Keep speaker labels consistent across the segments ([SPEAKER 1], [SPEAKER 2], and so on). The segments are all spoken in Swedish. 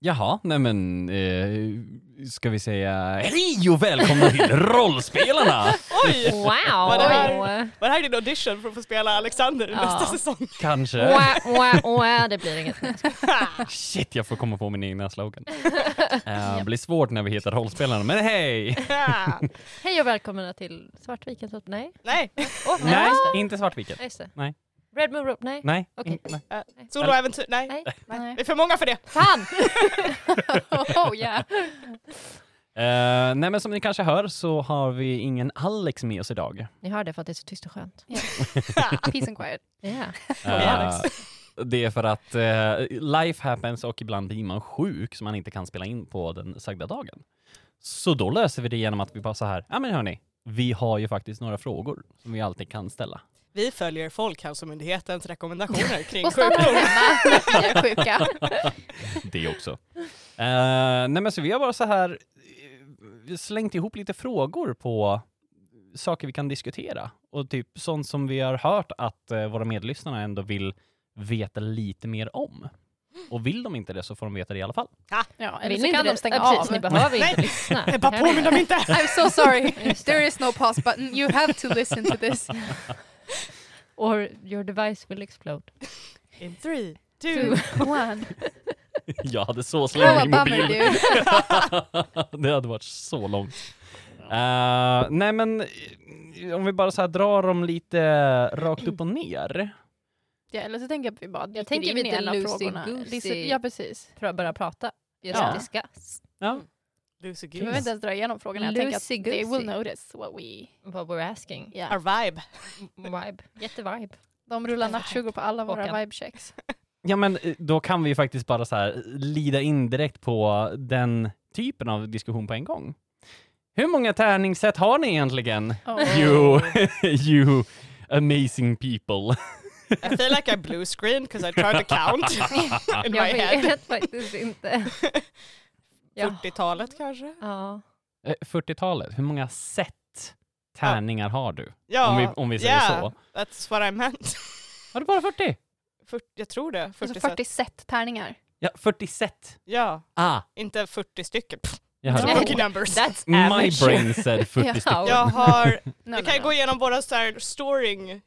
[SPEAKER 1] Jaha, nej men eh, ska vi säga hej och välkomna till Rollspelarna!
[SPEAKER 2] Oj!
[SPEAKER 3] Wow!
[SPEAKER 2] Vad det här- Var det här din audition för att få spela Alexander i
[SPEAKER 3] Ja.
[SPEAKER 2] nästa säsong?
[SPEAKER 1] Kanske.
[SPEAKER 3] Wah, wah, wah, det blir inget. Nej, jag skojar.
[SPEAKER 1] Shit, jag får komma på min egna slogan. Eh, Det blir svårt när vi heter Rollspelarna, men hej!
[SPEAKER 3] Hej och välkomna till Svartviken. så- Nej.
[SPEAKER 2] Nej,
[SPEAKER 3] Åh,
[SPEAKER 1] Nej,
[SPEAKER 3] just det.
[SPEAKER 1] inte Svartviken.
[SPEAKER 3] Ja, Just det.
[SPEAKER 1] Nej.
[SPEAKER 3] Red Moon Rope. Nej.
[SPEAKER 1] Nej.
[SPEAKER 3] Okej.
[SPEAKER 1] in- nej.
[SPEAKER 2] soloäventyr, nej.
[SPEAKER 3] Nej.
[SPEAKER 2] nej. Det är för många för det.
[SPEAKER 3] Fan! oh yeah.
[SPEAKER 1] Eh, nej men som ni kanske hör så har vi ingen Alex med oss idag.
[SPEAKER 3] Ni hör det för att det är så tyst och skönt.
[SPEAKER 4] Peace and quiet.
[SPEAKER 3] Ja.
[SPEAKER 1] Eh,
[SPEAKER 2] Alex.
[SPEAKER 1] det är för att eh, life happens och ibland blir man sjuk så man inte kan spela in på den sagda dagen. Så då löser vi det genom att vi bara så här, ja men hörni, vi har ju faktiskt några frågor som vi alltid kan ställa.
[SPEAKER 2] Vi följer Folkhälsomyndighetens rekommendationer kring
[SPEAKER 3] Och stanna
[SPEAKER 2] sjukdom.
[SPEAKER 3] hemma när ni är sjuka.
[SPEAKER 1] Det också. Eh, nej men så vi har bara så här eh, slängt ihop lite frågor på saker vi kan diskutera och typ sånt som vi har hört att eh, våra medlyssnare ändå vill veta lite mer om. Och vill de inte det så får de veta det i alla fall.
[SPEAKER 4] Ja,
[SPEAKER 3] Vill
[SPEAKER 4] eller
[SPEAKER 3] ni
[SPEAKER 4] så kan
[SPEAKER 3] inte
[SPEAKER 4] de
[SPEAKER 3] det-
[SPEAKER 4] stänga
[SPEAKER 3] ja, precis,
[SPEAKER 4] av.
[SPEAKER 3] Ni behöver
[SPEAKER 2] Nej.
[SPEAKER 3] inte lyssna.
[SPEAKER 2] Nej, Bara påminn dem inte!
[SPEAKER 4] I'm so sorry.
[SPEAKER 3] Just det.
[SPEAKER 4] There is no pause button. You have to listen to this.
[SPEAKER 3] Or your device will explode.
[SPEAKER 2] In three, two,
[SPEAKER 4] Two, one.
[SPEAKER 1] Jag hade så
[SPEAKER 4] Oh,
[SPEAKER 1] slängt
[SPEAKER 4] a
[SPEAKER 1] min
[SPEAKER 4] bummer
[SPEAKER 1] mobil.
[SPEAKER 4] dude.
[SPEAKER 1] det hade varit så långt. Eh, nej men eh, om vi bara så här drar dem lite rakt upp och ner.
[SPEAKER 4] Ja, eller så tänker jag att vi bara dyker
[SPEAKER 3] tänker
[SPEAKER 4] in
[SPEAKER 3] lite
[SPEAKER 4] i en av
[SPEAKER 3] loosey
[SPEAKER 4] frågorna.
[SPEAKER 3] goosey.
[SPEAKER 4] Lise- Ja, precis.
[SPEAKER 3] För att börja prata. Just
[SPEAKER 1] Ja.
[SPEAKER 3] discuss.
[SPEAKER 1] Ja.
[SPEAKER 2] Lucy
[SPEAKER 4] Vi behöver inte ens dra igenom frågorna. Jag tänker att they
[SPEAKER 3] Loosey-goosey.
[SPEAKER 4] will notice what we...
[SPEAKER 3] What we're asking.
[SPEAKER 4] Ja.
[SPEAKER 2] Our vibe.
[SPEAKER 3] Vibe. Jättevibe.
[SPEAKER 4] De rullar nattsugar på alla våra
[SPEAKER 3] Håkan.
[SPEAKER 4] vibechecks.
[SPEAKER 1] Ja men eh, då kan vi ju faktiskt bara så här lida in direkt på den typen av diskussion på en gång. Hur många tärningssätt har ni egentligen?
[SPEAKER 4] Oh.
[SPEAKER 1] You, you amazing people.
[SPEAKER 2] I feel like I blue screen because I tried to count in my
[SPEAKER 3] Jag
[SPEAKER 2] head.
[SPEAKER 3] vet faktiskt inte. Ja.
[SPEAKER 2] 40-talet kanske?
[SPEAKER 3] Ja.
[SPEAKER 1] Eh, 40-talet, hur många sätt tärningar har du?
[SPEAKER 2] Ja,
[SPEAKER 1] Om vi, om vi säger
[SPEAKER 2] yeah,
[SPEAKER 1] så.
[SPEAKER 2] that's what I meant.
[SPEAKER 1] Har du bara 40?
[SPEAKER 2] 40, jag tror det. 40
[SPEAKER 4] Alltså
[SPEAKER 2] set.
[SPEAKER 4] 40 set tärningar.
[SPEAKER 1] Ja, 40 sätt.
[SPEAKER 2] Ja,
[SPEAKER 1] Ah,
[SPEAKER 2] inte 40 stycken. Pff,
[SPEAKER 1] jag hörde.
[SPEAKER 3] Nej.
[SPEAKER 2] Lucky numbers.
[SPEAKER 3] That's
[SPEAKER 1] My brain said 40
[SPEAKER 4] Ja.
[SPEAKER 1] stycken.
[SPEAKER 2] Jag har,
[SPEAKER 4] No,
[SPEAKER 2] vi
[SPEAKER 4] no,
[SPEAKER 2] kan
[SPEAKER 4] no.
[SPEAKER 2] gå igenom våra så här storing eh,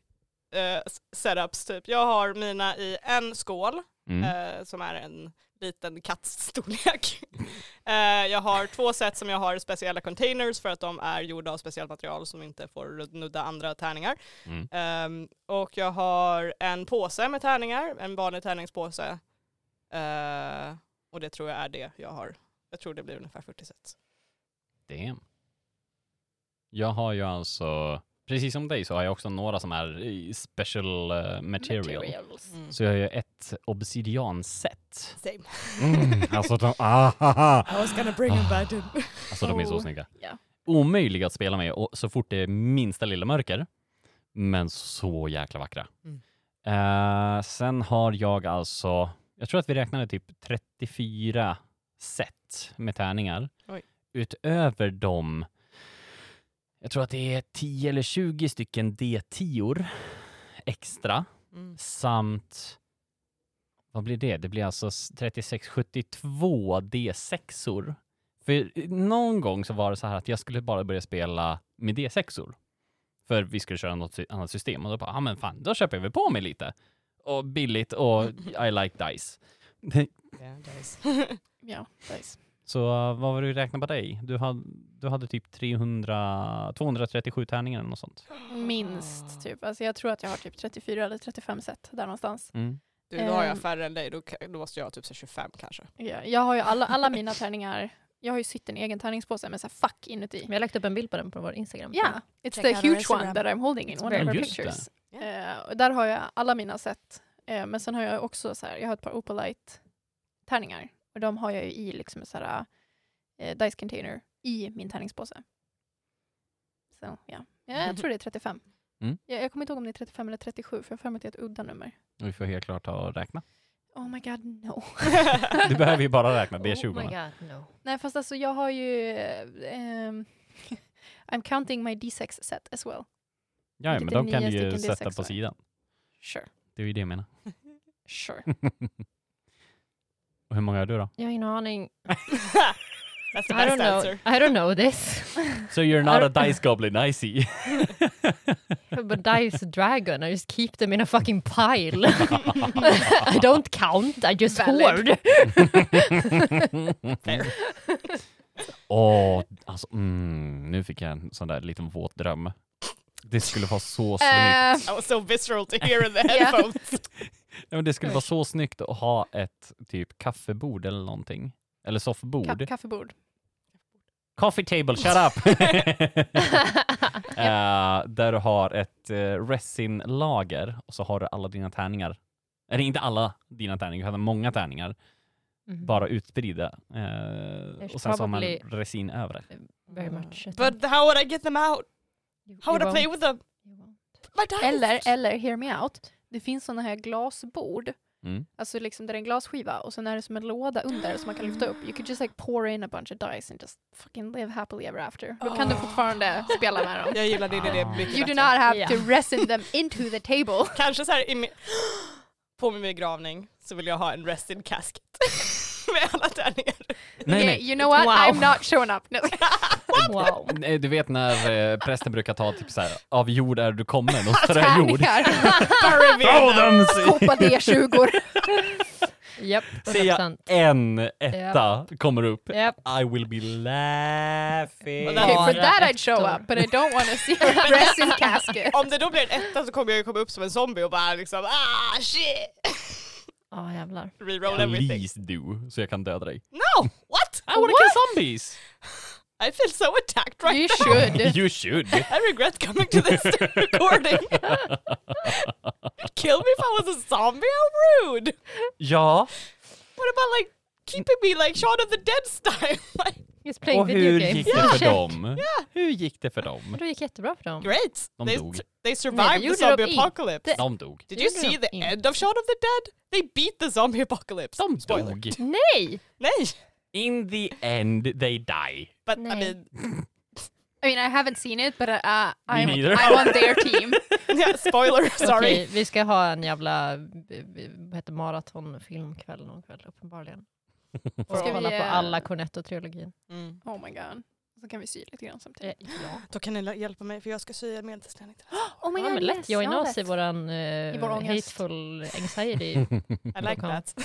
[SPEAKER 2] setups typ. Jag har mina i en skål
[SPEAKER 1] Mm.
[SPEAKER 2] eh, som är en liten kattstorlek. Eh, jag har två set som jag har i speciella containers för att de är gjorda av speciellt material som inte får nudda andra tärningar.
[SPEAKER 1] Mm.
[SPEAKER 2] Ehm, och jag har en påse med tärningar, en vanlig tärningspåse. Eh, och det tror jag är det jag har. Jag tror det blir ungefär 40 set.
[SPEAKER 1] Damn. Jag har ju alltså, precis som dig så har jag också några som är eh, special eh, material.
[SPEAKER 4] Materials.
[SPEAKER 1] Så jag har ju ett obsidianset.
[SPEAKER 2] Same.
[SPEAKER 1] alltså, de, ah,
[SPEAKER 2] I was gonna bring him back in.
[SPEAKER 1] alltså de är så
[SPEAKER 4] Oh.
[SPEAKER 1] snygga.
[SPEAKER 4] Ja.
[SPEAKER 1] Omöjliga att spela med och så fort det är minsta lilla mörker. Men så jäkla vackra.
[SPEAKER 2] Mm.
[SPEAKER 1] Eh, sen har jag alltså, jag tror att vi räknade typ 34 set med tärningar.
[SPEAKER 2] Oj.
[SPEAKER 1] Utöver dem, jag tror att det är 10 eller 20 stycken D10 extra
[SPEAKER 2] Mm.
[SPEAKER 1] samt vad blir det? Det blir alltså s- 36, 72 D6-or. För någon gång så var det så här att jag skulle bara börja spela med D6-or. För vi skulle köra något sy- annat system och då bara, ja ah, men fan, då köper jag väl på mig lite. Och billigt och I like dice.
[SPEAKER 2] Yeah, nice.
[SPEAKER 4] Ja, nice.
[SPEAKER 1] Så vad var det du räknade på dig? Du hade, du hade typ 300, 237 tärningar eller något sånt.
[SPEAKER 3] Ah.
[SPEAKER 2] Ah.
[SPEAKER 4] Minst typ. Alltså jag tror att jag har typ 34 eller 35 set där någonstans.
[SPEAKER 3] Mm.
[SPEAKER 2] Du, då har
[SPEAKER 4] Ehm.
[SPEAKER 2] jag färre än dig, då, kan- då måste jag ha typ så här 25 kanske.
[SPEAKER 4] Ja, jag har ju alla, alla mina tärningar, jag har ju sytt en egen tärningspåse med så här fuck inuti.
[SPEAKER 3] Vi har lagt upp en bild på den på vår Instagram.
[SPEAKER 4] Ja, yeah, it's
[SPEAKER 2] Check
[SPEAKER 4] the
[SPEAKER 2] out our
[SPEAKER 4] huge
[SPEAKER 2] Instagram.
[SPEAKER 4] one that I'm holding in
[SPEAKER 3] It's
[SPEAKER 4] one
[SPEAKER 3] very
[SPEAKER 4] of our
[SPEAKER 1] big.
[SPEAKER 4] pictures.
[SPEAKER 2] det.
[SPEAKER 4] Eh, och där har jag alla mina set, Eh, men sen har jag också så här, jag har ett par opalite-tärningar och de har jag ju i liksom en så här eh, dice container i min tärningspåse. Så ja, Ja, jag tror det är 35.
[SPEAKER 1] Mm.
[SPEAKER 4] Ja, jag kommer inte ihåg om det är 35 eller 37 för jag har för mig att det är ett udda nummer.
[SPEAKER 1] Vi får helt klart ta och räkna.
[SPEAKER 4] Oh my god, no.
[SPEAKER 1] Du behöver ju bara räkna
[SPEAKER 3] Oh my
[SPEAKER 1] D20.
[SPEAKER 3] god, no.
[SPEAKER 4] Nej, fast alltså jag har ju... eh, ehm, I'm counting my D6 set as well.
[SPEAKER 1] Ja, men
[SPEAKER 4] Vilket
[SPEAKER 1] de
[SPEAKER 4] är
[SPEAKER 1] kan du
[SPEAKER 4] nio
[SPEAKER 1] ju
[SPEAKER 4] stycken
[SPEAKER 1] sätta på
[SPEAKER 4] D6-or.
[SPEAKER 1] sidan.
[SPEAKER 4] Sure.
[SPEAKER 1] Det är ju det jag menar.
[SPEAKER 4] Sure.
[SPEAKER 1] Och hur många har du då?
[SPEAKER 3] Jag har ingen aning.
[SPEAKER 2] That's
[SPEAKER 3] I
[SPEAKER 2] the
[SPEAKER 3] don't
[SPEAKER 2] best
[SPEAKER 3] know,
[SPEAKER 2] answer.
[SPEAKER 3] I don't know this.
[SPEAKER 1] So you're
[SPEAKER 3] not a
[SPEAKER 1] not a dice goblin, I see.
[SPEAKER 3] But dice dragon, I just keep them in a fucking pile. I don't count, I just
[SPEAKER 4] Valid.
[SPEAKER 3] hoard.
[SPEAKER 2] Fair.
[SPEAKER 1] Åh, alltså, mm, nu fick jag en sån där liten våt dröm. Det skulle vara så snyggt.
[SPEAKER 4] Eh,
[SPEAKER 2] I was so visceral to hear in the
[SPEAKER 4] Yeah.
[SPEAKER 2] headphones.
[SPEAKER 1] Ja, men det skulle vara så snyggt att ha ett typ kaffebord eller någonting. Eller soffbord.
[SPEAKER 4] ka- kaffebord.
[SPEAKER 1] Coffee table, shut up!
[SPEAKER 3] Mm-hmm.
[SPEAKER 1] Eh, där du har ett eh, resinlager och så har du alla dina tärningar. Eller inte alla dina tärningar, du hade många tärningar.
[SPEAKER 3] Mhm.
[SPEAKER 1] Bara utspridda. Eh, och sen så har man
[SPEAKER 3] probably-
[SPEAKER 1] resin över det.
[SPEAKER 3] Very much.
[SPEAKER 4] Mm.
[SPEAKER 3] I
[SPEAKER 2] But
[SPEAKER 3] think.
[SPEAKER 2] how would I get them out?
[SPEAKER 3] You-
[SPEAKER 2] How
[SPEAKER 3] you
[SPEAKER 2] would I play
[SPEAKER 3] won't.
[SPEAKER 2] with them?
[SPEAKER 3] You won't.
[SPEAKER 2] My dice.
[SPEAKER 4] Eller, eller, hear me out. Det finns sådana här glasbord.
[SPEAKER 1] Mm.
[SPEAKER 4] Alltså liksom där det är en glasskiva och sen är det som en låda under som man kan lyfta upp. You could just like pour in a bunch of dice and just fucking live happily ever after. Då kan du
[SPEAKER 2] Oh.
[SPEAKER 4] fortfarande spela med dem.
[SPEAKER 2] Jag gillar din idé
[SPEAKER 1] Ah.
[SPEAKER 2] mycket
[SPEAKER 4] You do
[SPEAKER 2] bättre.
[SPEAKER 4] not have to
[SPEAKER 3] Yeah.
[SPEAKER 4] resin them into the table.
[SPEAKER 2] Kanske så här i min... På min begravning så vill jag ha en rest in casket. Med alla tärningar.
[SPEAKER 1] Nej,
[SPEAKER 4] You-
[SPEAKER 1] nej.
[SPEAKER 4] You know what?
[SPEAKER 3] Wow.
[SPEAKER 4] I'm not showing up. No.
[SPEAKER 3] Wow.
[SPEAKER 1] Eh, Du vet när eh, prästen brukar ta typ så här, av jord är du kommen och träjord.
[SPEAKER 2] Bury me in
[SPEAKER 1] Throw
[SPEAKER 2] them.
[SPEAKER 1] them!
[SPEAKER 4] Hoppa D20.
[SPEAKER 3] Japp,
[SPEAKER 1] Ser jag
[SPEAKER 3] 100%.
[SPEAKER 1] en etta kommer upp,
[SPEAKER 3] Japp.
[SPEAKER 1] I will be laughing.
[SPEAKER 2] Och
[SPEAKER 4] Okay,
[SPEAKER 2] där-
[SPEAKER 4] for that I'd show
[SPEAKER 3] ettor.
[SPEAKER 4] up, but I don't want to see a resin casket.
[SPEAKER 2] Om det då blir en etta så kommer jag ju komma upp som en zombie och bara liksom ah shit!
[SPEAKER 3] Ja, Ah, jävlar.
[SPEAKER 2] Reroll everything.
[SPEAKER 1] Please do, så jag kan döda dig.
[SPEAKER 2] No! What?
[SPEAKER 1] I wanna kill zombies!
[SPEAKER 2] I feel so attacked right
[SPEAKER 4] You
[SPEAKER 2] now.
[SPEAKER 4] should.
[SPEAKER 1] You should!
[SPEAKER 2] I regret coming to this recording. Kill me if I was a zombie? How rude!
[SPEAKER 1] Ja,
[SPEAKER 2] What about like keeping me like Shaun of the Dead style? like,
[SPEAKER 3] He's playing
[SPEAKER 1] och
[SPEAKER 3] video
[SPEAKER 1] hur
[SPEAKER 3] games.
[SPEAKER 1] gick det för
[SPEAKER 3] Check.
[SPEAKER 1] dem? Hur gick det för
[SPEAKER 3] Men
[SPEAKER 1] dem?
[SPEAKER 3] det gick jättebra för dem.
[SPEAKER 2] great!
[SPEAKER 1] De
[SPEAKER 2] they,
[SPEAKER 1] dog.
[SPEAKER 2] they survived the
[SPEAKER 3] gjorde de
[SPEAKER 2] zombie
[SPEAKER 3] inte.
[SPEAKER 2] apocalypse.
[SPEAKER 1] De dog.
[SPEAKER 2] Did you
[SPEAKER 3] gjorde
[SPEAKER 2] see
[SPEAKER 3] de
[SPEAKER 2] the
[SPEAKER 3] inte.
[SPEAKER 2] end of Shaun of the Dead? They beat the zombie apocalypse.
[SPEAKER 1] De
[SPEAKER 2] Spoiler.
[SPEAKER 1] dog.
[SPEAKER 3] Nej!
[SPEAKER 2] Nej!
[SPEAKER 1] In the end they die.
[SPEAKER 2] But I
[SPEAKER 3] Nej.
[SPEAKER 2] mean,
[SPEAKER 4] I mean, I haven't seen it, but uh, I'm,
[SPEAKER 1] neither.
[SPEAKER 4] I'm on their team.
[SPEAKER 2] yeah, spoiler, sorry.
[SPEAKER 3] Okej, vi ska ha en jävla b- b- vad heter, maratonfilmkväll någon kväll uppenbarligen. Och
[SPEAKER 4] Ska
[SPEAKER 3] ska
[SPEAKER 4] vi,
[SPEAKER 3] kolla på
[SPEAKER 4] eh,
[SPEAKER 3] alla Cornetto-trilogin.
[SPEAKER 2] Mm.
[SPEAKER 4] Oh my god. Så kan vi sy lite grann samtidigt.
[SPEAKER 3] Eh, Ja.
[SPEAKER 2] Då kan ni lä- hjälpa mig för jag ska sy en medeltidsklänning till
[SPEAKER 4] Oh my
[SPEAKER 3] Ja, men
[SPEAKER 4] god,
[SPEAKER 3] lätt.
[SPEAKER 4] yes.
[SPEAKER 3] Join
[SPEAKER 4] ja,
[SPEAKER 3] us i
[SPEAKER 4] lätt.
[SPEAKER 3] våran
[SPEAKER 4] I
[SPEAKER 3] eh,
[SPEAKER 4] vår ångest.
[SPEAKER 3] hateful anxiety.
[SPEAKER 2] I like that.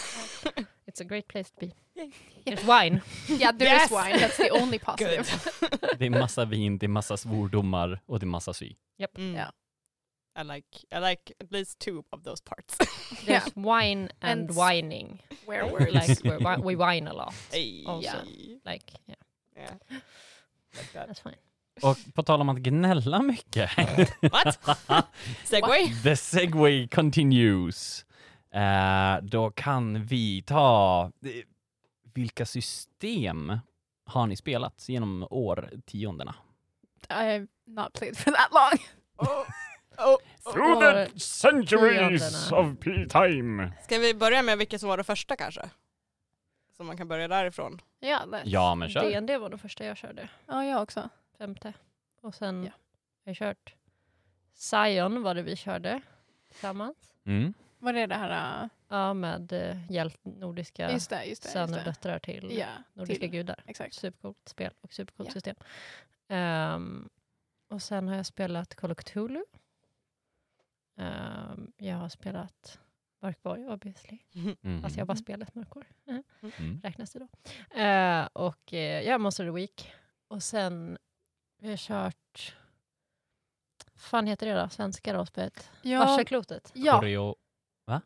[SPEAKER 3] It's a great place to be.
[SPEAKER 2] Yay.
[SPEAKER 3] There's wine.
[SPEAKER 4] Yeah, there
[SPEAKER 2] Yes.
[SPEAKER 4] is wine. That's the only positive.
[SPEAKER 2] Alltså,
[SPEAKER 1] Det är massa vin, det är massa svordomar och det är massa sy.
[SPEAKER 2] Mm.
[SPEAKER 4] Yeah.
[SPEAKER 2] I like I like at least two of those parts.
[SPEAKER 4] Yeah.
[SPEAKER 3] There's wine
[SPEAKER 4] And
[SPEAKER 3] and
[SPEAKER 4] s-
[SPEAKER 3] whining.
[SPEAKER 4] Where
[SPEAKER 3] Like,
[SPEAKER 4] were
[SPEAKER 3] we like,
[SPEAKER 4] like,
[SPEAKER 3] we're wi- we whine a lot.
[SPEAKER 2] Hey.
[SPEAKER 3] Also.
[SPEAKER 2] Yeah.
[SPEAKER 3] Like, yeah,
[SPEAKER 2] Yeah. Like that.
[SPEAKER 3] that's fine.
[SPEAKER 1] Och på tal om att gnälla mycket.
[SPEAKER 2] What? Segway?
[SPEAKER 1] The segway continues. Eh, då kan vi ta... eh, Vilka system har ni spelat genom årtiondena?
[SPEAKER 4] I've not played for that long.
[SPEAKER 2] Oh. Oh.
[SPEAKER 3] Through the centuries of
[SPEAKER 1] time.
[SPEAKER 2] Ska vi börja med vilket som var det första kanske? Så man kan börja därifrån.
[SPEAKER 4] Ja, lätt.
[SPEAKER 1] Ja, men kör.
[SPEAKER 3] D&D var det första jag körde.
[SPEAKER 4] Ja, jag också.
[SPEAKER 3] Femte. Och sen
[SPEAKER 4] Ja.
[SPEAKER 3] har jag kört Zion var det vi körde tillsammans.
[SPEAKER 1] Mm.
[SPEAKER 4] Var det det här? Uh,
[SPEAKER 3] Ja, med eh, hjält nordiska
[SPEAKER 4] Just det, just det. Just
[SPEAKER 3] söner och
[SPEAKER 4] det.
[SPEAKER 3] döttrar till
[SPEAKER 4] Ja,
[SPEAKER 3] nordiska
[SPEAKER 4] till-
[SPEAKER 3] gudar.
[SPEAKER 4] exakt.
[SPEAKER 3] Supercoolt spel och supercoolt
[SPEAKER 4] Ja.
[SPEAKER 3] system. Ehm, och sen har jag spelat Call of Cthulhu. Ehm, jag har spelat Mörkborg, obviously.
[SPEAKER 1] Mm.
[SPEAKER 3] Fast jag
[SPEAKER 4] Mm-hmm.
[SPEAKER 3] har bara spelat Mörkborg. Eh,
[SPEAKER 1] Mm.
[SPEAKER 3] Räknas det då? Eh, och eh, ja, Monster of the Week. Och sen, vi har kört... fan heter det då? Svenska då, spelet?
[SPEAKER 4] Ja,
[SPEAKER 3] Varselklotet.
[SPEAKER 4] ja,
[SPEAKER 1] Koreo...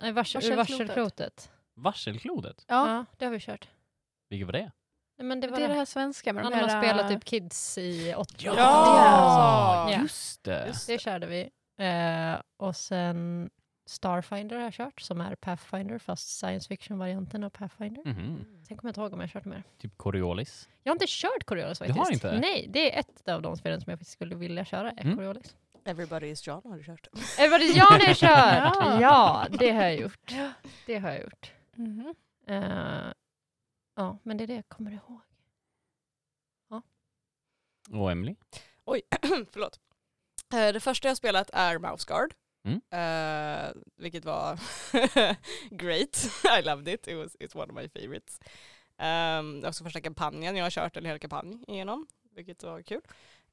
[SPEAKER 3] Nej, vars- ur
[SPEAKER 4] Varselklotet.
[SPEAKER 3] varselklotet.
[SPEAKER 1] Varselklodet?
[SPEAKER 3] Ja.
[SPEAKER 4] ja.
[SPEAKER 3] det har vi kört.
[SPEAKER 1] Vilket var det?
[SPEAKER 3] Nej, men det var
[SPEAKER 4] Det är det här svenska med
[SPEAKER 3] Ja,
[SPEAKER 4] de
[SPEAKER 3] när
[SPEAKER 4] här...
[SPEAKER 3] man
[SPEAKER 4] uh,
[SPEAKER 3] spelar typ kids i 80
[SPEAKER 2] Ja!
[SPEAKER 1] Ja,
[SPEAKER 3] Ja.
[SPEAKER 1] Just det.
[SPEAKER 2] Just
[SPEAKER 3] Det körde vi. Eh, och sen Starfinder har jag kört, som är Pathfinder, fast science fiction-varianten av Pathfinder.
[SPEAKER 1] Mhm.
[SPEAKER 3] Sen kommer jag inte ihåg om jag har kört mer.
[SPEAKER 1] Typ Coriolis.
[SPEAKER 3] Jag har inte kört Coriolis
[SPEAKER 1] har
[SPEAKER 3] faktiskt.
[SPEAKER 1] inte?
[SPEAKER 3] Nej, det är ett av de spelen som jag faktiskt skulle vilja köra, är
[SPEAKER 1] Mm.
[SPEAKER 3] Coriolis.
[SPEAKER 2] Everybody is John har du kört.
[SPEAKER 3] Everybody Jan har jag
[SPEAKER 4] Ja.
[SPEAKER 3] kört! ja, det har jag gjort. Det har jag gjort.
[SPEAKER 4] Mhm.
[SPEAKER 3] Eh, ja, men det är det jag kommer ihåg.
[SPEAKER 1] Och Emily.
[SPEAKER 2] Förlåt. Eh, Det första jag spelat är Mouse Guard
[SPEAKER 1] Mm.
[SPEAKER 2] Eh, vilket var great. I loved it. it was, it's one of my favorites. Um, också första kampanjen jag har kört en hel kampanj igenom, vilket var kul.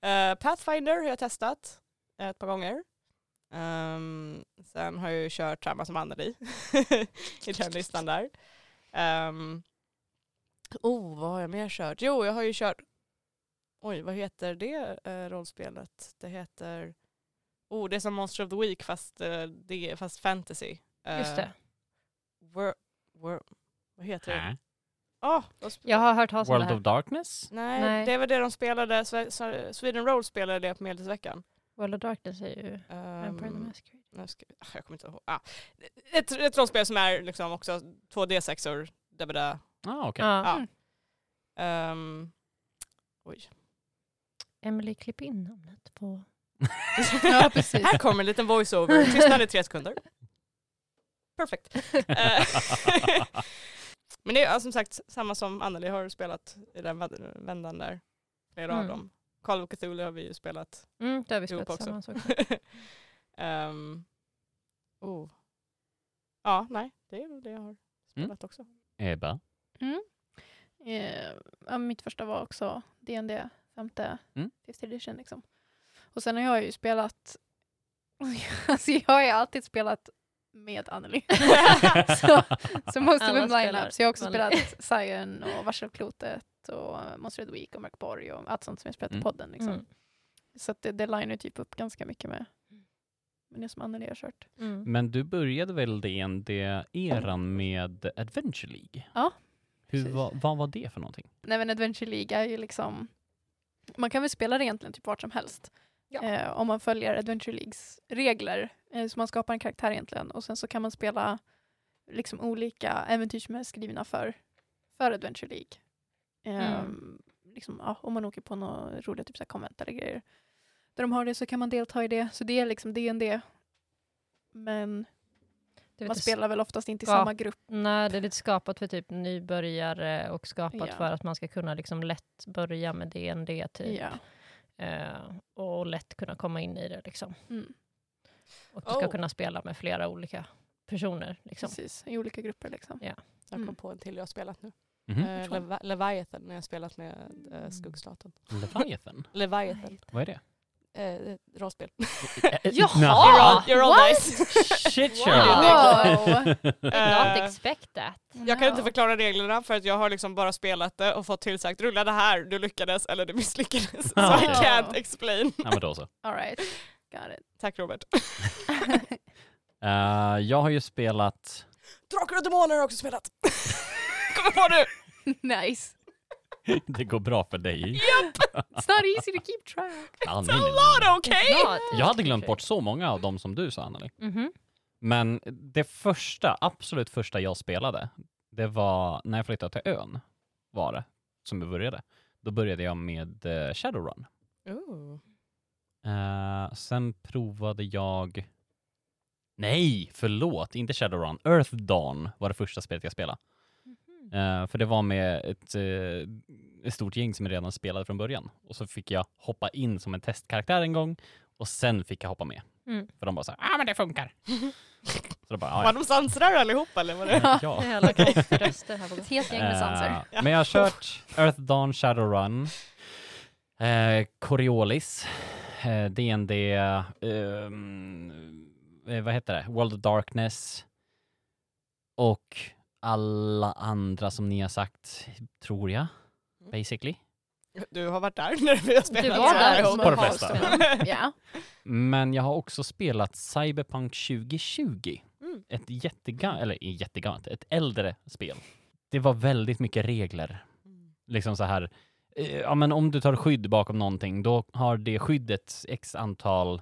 [SPEAKER 2] Eh, Pathfinder har jag testat ett par gånger. Ehm, sen har jag ju kört samma som Anneli i den listan där. Ehm, oh, vad har jag mer kört? Jo, jag har ju kört Oj, vad heter det eh, rollspelet? Det heter... Oh, det är som Monster of the Week fast, eh, det, fast fantasy. Eh,
[SPEAKER 3] Just det.
[SPEAKER 2] Wor- wor- vad heter det?
[SPEAKER 1] Äh.
[SPEAKER 2] Ah, vad sp-
[SPEAKER 3] Jag har hört talas om det
[SPEAKER 1] World of
[SPEAKER 3] här.
[SPEAKER 1] Darkness?
[SPEAKER 2] nej,
[SPEAKER 3] Nej.
[SPEAKER 2] det var det de spelade. Sve- Sve- Sweden Roll spelade det på Medeltidsveckan.
[SPEAKER 3] World of Darkness är ju Vampire the
[SPEAKER 2] Um,
[SPEAKER 3] Masquerade.
[SPEAKER 2] nu ska, ah, jag kommer inte ihåg. Ah, ett, ett rollspel som är liksom också 2D6or. Dabada.
[SPEAKER 1] Ah, okej.
[SPEAKER 3] Ja.
[SPEAKER 2] Ja.
[SPEAKER 3] Mm.
[SPEAKER 2] Um, oj.
[SPEAKER 3] Emily, klipp in namnet på...
[SPEAKER 4] Ja, precis.
[SPEAKER 2] Här kommer en liten voiceover. Tystnad i tre sekunder. Perfekt. Eh, Men det är ja, som sagt samma som Anneli har spelat i den vä- vändan där. Flera av
[SPEAKER 3] Mm.
[SPEAKER 2] dem. Call of Cthulhu har vi ju spelat.
[SPEAKER 3] Mm, det har vi
[SPEAKER 2] Jo,
[SPEAKER 3] spelat
[SPEAKER 2] också.
[SPEAKER 3] tillsammans också.
[SPEAKER 2] Ehm, oh. Ja, nej, det är väl det jag
[SPEAKER 1] Mm.
[SPEAKER 2] har spelat också.
[SPEAKER 1] Ebba?
[SPEAKER 4] Mm. Eh, ja, mitt första var också D&D femte,
[SPEAKER 1] Mm.
[SPEAKER 4] fifth edition liksom. Och sen har jag ju spelat, alltså jag har ju alltid spelat med Anneli. så, så most of
[SPEAKER 3] Alla
[SPEAKER 4] them
[SPEAKER 3] spelar
[SPEAKER 4] lineups. Jag har också
[SPEAKER 3] med
[SPEAKER 4] spelat Sion och Varselklotet och Monster of the Week och Mörkborg och allt sånt som jag spelat
[SPEAKER 1] Mm.
[SPEAKER 4] i podden. Liksom.
[SPEAKER 3] Mm.
[SPEAKER 4] Så att det, det linar ju typ upp ganska mycket med, med det som Anneli har kört.
[SPEAKER 3] Mm.
[SPEAKER 1] Men du började väl DND-eran med Adventure League?
[SPEAKER 4] Ja,
[SPEAKER 1] Hur,
[SPEAKER 4] precis.
[SPEAKER 1] va, vad var det för någonting?
[SPEAKER 4] Nej men Adventure League är ju liksom, man kan väl spela det egentligen typ vart som helst.
[SPEAKER 2] Ja.
[SPEAKER 4] Eh, om man följer Adventure Leagues regler. Eh, så man skapar en karaktär egentligen och sen så kan man spela liksom olika äventyr som är skrivna för, för Adventure League. Eh,
[SPEAKER 3] Mm.
[SPEAKER 4] liksom, ja, om man åker på några roliga typ så här konvent eller grejer. Där de har det så kan man delta i det. Så det är liksom D&D. Men
[SPEAKER 3] Det är
[SPEAKER 4] man
[SPEAKER 3] lite
[SPEAKER 4] spelar väl oftast inte i
[SPEAKER 3] Ja.
[SPEAKER 4] samma grupp.
[SPEAKER 3] Nej, det är lite skapat för typ nybörjare och skapat
[SPEAKER 4] Ja.
[SPEAKER 3] för att man ska kunna liksom lätt börja med DND typ.
[SPEAKER 4] Ja.
[SPEAKER 3] Eh, och lätt kunna komma in i det liksom.
[SPEAKER 4] Mm,
[SPEAKER 3] Och du ska
[SPEAKER 2] Oh.
[SPEAKER 3] kunna spela med flera olika personer. Liksom.
[SPEAKER 4] precis, i olika grupper liksom.
[SPEAKER 2] Jag kom
[SPEAKER 4] Mm.
[SPEAKER 2] på en till jag har spelat nu.
[SPEAKER 1] Mhm.
[SPEAKER 2] Eh, Levi- Leviathan när jag har spelat med eh, Skuggstaten.
[SPEAKER 1] Leviathan?
[SPEAKER 2] Leviathan.
[SPEAKER 1] Vad är det? Eh,
[SPEAKER 2] Eh, rollspel.
[SPEAKER 3] Jaha!
[SPEAKER 2] You're all, you're all nice.
[SPEAKER 1] Shit
[SPEAKER 2] Wow.
[SPEAKER 1] Sherlock!
[SPEAKER 3] Not
[SPEAKER 2] Eh,
[SPEAKER 3] expect that.
[SPEAKER 2] Jag kan
[SPEAKER 4] No.
[SPEAKER 2] inte förklara reglerna för att jag har liksom bara spelat det och fått tillsagt rulla det här, du lyckades eller du misslyckades. So I
[SPEAKER 1] Ja.
[SPEAKER 2] can't explain.
[SPEAKER 1] Nej, men då så.
[SPEAKER 4] All right, got it.
[SPEAKER 2] Tack Robert.
[SPEAKER 1] Eh, jag har ju spelat...
[SPEAKER 2] Drakar och demoner har jag också spelat. Kommer på nu!
[SPEAKER 4] nice.
[SPEAKER 1] det går bra för dig.
[SPEAKER 4] It's not easy to keep track.
[SPEAKER 1] Ja,
[SPEAKER 2] It's
[SPEAKER 1] nej, nej,
[SPEAKER 2] a
[SPEAKER 1] nej.
[SPEAKER 2] lot okay!
[SPEAKER 1] Jag hade glömt bort så många av dem som du sa, Anneli.
[SPEAKER 3] Mhm.
[SPEAKER 1] Men det första, absolut första jag spelade, det var när jag flyttade till ön, var det, som jag började. Då började jag med eh, Shadowrun. Eh, sen provade jag... Nej, förlåt, inte Shadowrun. Earth Dawn var det första spelet jag spelade. Eh, för det var med ett, eh, ett stort gäng som redan spelade från början. Och så fick jag hoppa in som en testkaraktär en gång och sen fick jag hoppa med.
[SPEAKER 3] Mm.
[SPEAKER 1] För de bara så här, ah men det funkar. så då bara, "Ah, ja.
[SPEAKER 2] Var de sansrar allihopa eller var det?
[SPEAKER 1] ja.
[SPEAKER 3] Det är alla konströster här på Ett helt
[SPEAKER 1] Eh, Men jag har kört Earth Dawn, Shadowrun, eh, Coriolis, eh, D&D, ehm, eh, vad heter det, World of Darkness och alla andra som ni har sagt, tror jag, basically.
[SPEAKER 2] Du har varit där när vi har spelat.
[SPEAKER 3] Du
[SPEAKER 4] Ja,
[SPEAKER 3] var
[SPEAKER 2] så här
[SPEAKER 3] där
[SPEAKER 2] ihop.
[SPEAKER 1] på de flesta.
[SPEAKER 4] Ja.
[SPEAKER 1] Men jag har också spelat Cyberpunk 2020.
[SPEAKER 2] Mm.
[SPEAKER 1] Ett jättegammalt, eller jättegammalt, ett äldre spel. Det var väldigt mycket regler.
[SPEAKER 3] Mm.
[SPEAKER 1] liksom så här, eh, ja men om du tar skydd bakom någonting, då har det skyddet x antal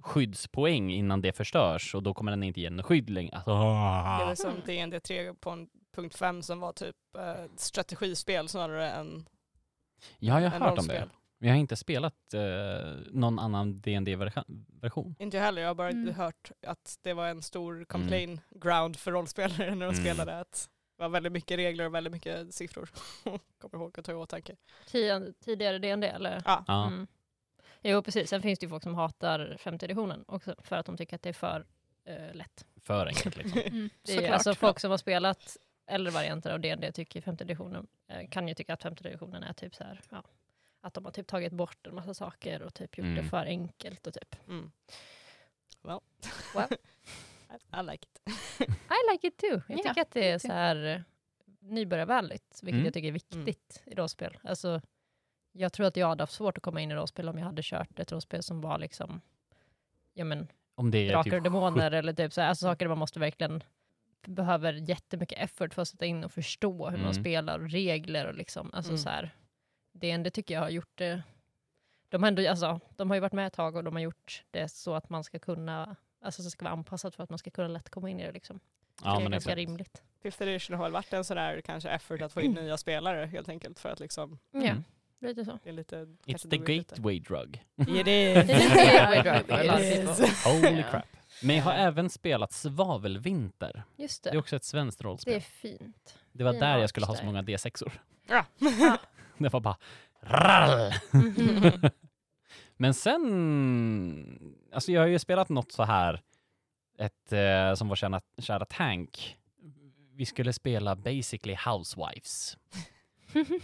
[SPEAKER 1] skyddspoäng innan det förstörs och då kommer den inte ge något skydd längre. Alltså,
[SPEAKER 2] Det var
[SPEAKER 1] ah.
[SPEAKER 2] som DND 3.5 som var typ eh, strategispel snarare än
[SPEAKER 1] Jag har ju
[SPEAKER 2] än
[SPEAKER 1] hört om det,
[SPEAKER 2] rollspel.
[SPEAKER 1] men jag har inte spelat eh, någon annan dd version
[SPEAKER 2] Inte jag heller, jag har bara
[SPEAKER 4] Mm.
[SPEAKER 2] hört att det var en stor complain ground för rollspelare när
[SPEAKER 1] Mm.
[SPEAKER 2] de spelade. Att det var väldigt mycket regler och väldigt mycket siffror. Kommer ihåg att ta i åtanke.
[SPEAKER 3] Tidigare DND eller?
[SPEAKER 2] Ja.
[SPEAKER 1] Ja.
[SPEAKER 3] Mm. Jo, precis. Sen finns det ju folk som hatar femte editionen också för att de tycker att det är för eh, lätt.
[SPEAKER 1] För enkelt liksom.
[SPEAKER 4] Mm,
[SPEAKER 3] Det är,
[SPEAKER 4] såklart.
[SPEAKER 3] alltså folk som har spelat äldre varianter av D&D tycker femte editionen eh, kan ju tycka att femte editionen är typ så här, ja, att de har typ tagit bort en massa saker och typ gjort
[SPEAKER 1] Mm.
[SPEAKER 3] det för enkelt och typ.
[SPEAKER 2] Mm. Well.
[SPEAKER 3] Well.
[SPEAKER 2] I, I like it.
[SPEAKER 3] I like it too. Jag
[SPEAKER 4] Ja,
[SPEAKER 3] tycker att det är
[SPEAKER 4] me
[SPEAKER 3] så
[SPEAKER 4] too.
[SPEAKER 3] här eh, nybörjarvänligt, vilket
[SPEAKER 1] Mm.
[SPEAKER 3] jag tycker är viktigt i rollspel. Alltså, jag tror att jag hade haft svårt att komma in i rollspel om jag hade kört ett rollspel som var liksom, ja men
[SPEAKER 1] Om det är
[SPEAKER 3] drakar
[SPEAKER 1] typ
[SPEAKER 3] och demoner eller typ så här, alltså saker där man måste verkligen behöver jättemycket effort för att sätta in och förstå hur
[SPEAKER 1] Mm.
[SPEAKER 3] man spelar och regler och liksom, alltså
[SPEAKER 2] Mm.
[SPEAKER 3] så här. Det ändå tycker jag har gjort det. De har, ändå, alltså, de har ju varit med ett tag och de har gjort det så att man ska kunna, alltså så ska vara anpassat för att man ska kunna lätt komma in i det liksom.
[SPEAKER 1] Ja,
[SPEAKER 3] det är
[SPEAKER 1] men
[SPEAKER 3] ganska
[SPEAKER 1] exakt.
[SPEAKER 3] rimligt.
[SPEAKER 2] Fifth edition har väl varit en sån där kanske effort att få in nya spelare helt enkelt för att liksom
[SPEAKER 1] Mm.
[SPEAKER 3] Ja, lite så.
[SPEAKER 2] det är lite kanske
[SPEAKER 1] It's the
[SPEAKER 2] dog ut lite.
[SPEAKER 1] gateway drug.
[SPEAKER 2] It is.
[SPEAKER 3] Det är lite gateway drug för
[SPEAKER 2] It
[SPEAKER 3] alla
[SPEAKER 2] is.
[SPEAKER 1] Holy
[SPEAKER 3] Ja.
[SPEAKER 1] crap. Men jag har även spelat Svavelvinter.
[SPEAKER 3] Just
[SPEAKER 1] Det är
[SPEAKER 3] det.
[SPEAKER 1] också ett svenskt
[SPEAKER 3] Det är
[SPEAKER 1] rollspel.
[SPEAKER 3] fint.
[SPEAKER 1] Det var
[SPEAKER 3] fin
[SPEAKER 1] där jag skulle ha så
[SPEAKER 3] artstyle.
[SPEAKER 1] många D6or.
[SPEAKER 2] Ja.
[SPEAKER 1] Det var bara rall.
[SPEAKER 3] Mhm.
[SPEAKER 1] Men sen, alltså jag har ju spelat något så här, ett eh, som var kära, kära Tank. Vi skulle spela basically housewives.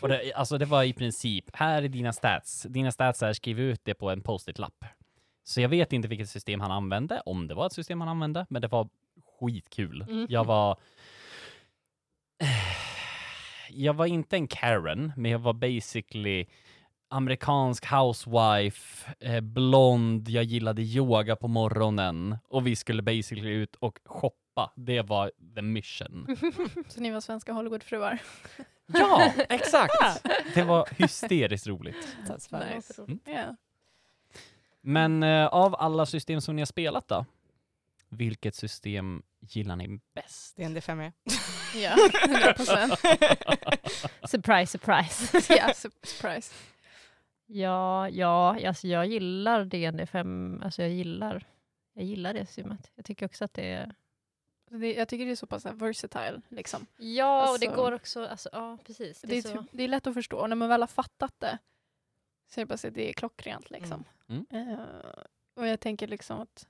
[SPEAKER 1] Och det, alltså det var i princip, här är dina stats. Dina stats är, skriv ut det på en post-it-lapp. Så jag vet inte vilket system han använde, om det var ett system han använde, men det var skitkul.
[SPEAKER 3] Mhm.
[SPEAKER 1] Jag var... Jag var inte en Karen, men jag var basically amerikansk housewife, eh, blond, jag gillade yoga på morgonen och vi skulle basically ut och shoppa. Det var the mission.
[SPEAKER 4] Så ni var svenska Hollywoodfruar.
[SPEAKER 1] Ja, exakt! Det var hysteriskt roligt.
[SPEAKER 3] Det
[SPEAKER 2] That's fine.
[SPEAKER 3] låter roligt.
[SPEAKER 1] Mm.
[SPEAKER 4] Ja.
[SPEAKER 1] Men eh, av alla system som ni har spelat då, vilket system gillar ni bäst?
[SPEAKER 2] Det är en E. D5 med.
[SPEAKER 4] Ja, 100%.
[SPEAKER 3] Surprise, surprise.
[SPEAKER 4] Ja, su- surprise.
[SPEAKER 3] Ja, ja, alltså jag gillar DND5, alltså jag gillar, jag gillar det systemet. Jag tycker också att det är...
[SPEAKER 4] Så Alltså, Det, jag tycker det är så pass här versatile. Liksom.
[SPEAKER 3] Ja, och det
[SPEAKER 4] Alltså-
[SPEAKER 3] går också, alltså, ja precis.
[SPEAKER 4] Det, är typ, det är lätt att förstå. Och när man väl har fattat det så är det bara så att det är klockrent. Liksom.
[SPEAKER 1] Mm.
[SPEAKER 4] Eh, och jag tänker liksom att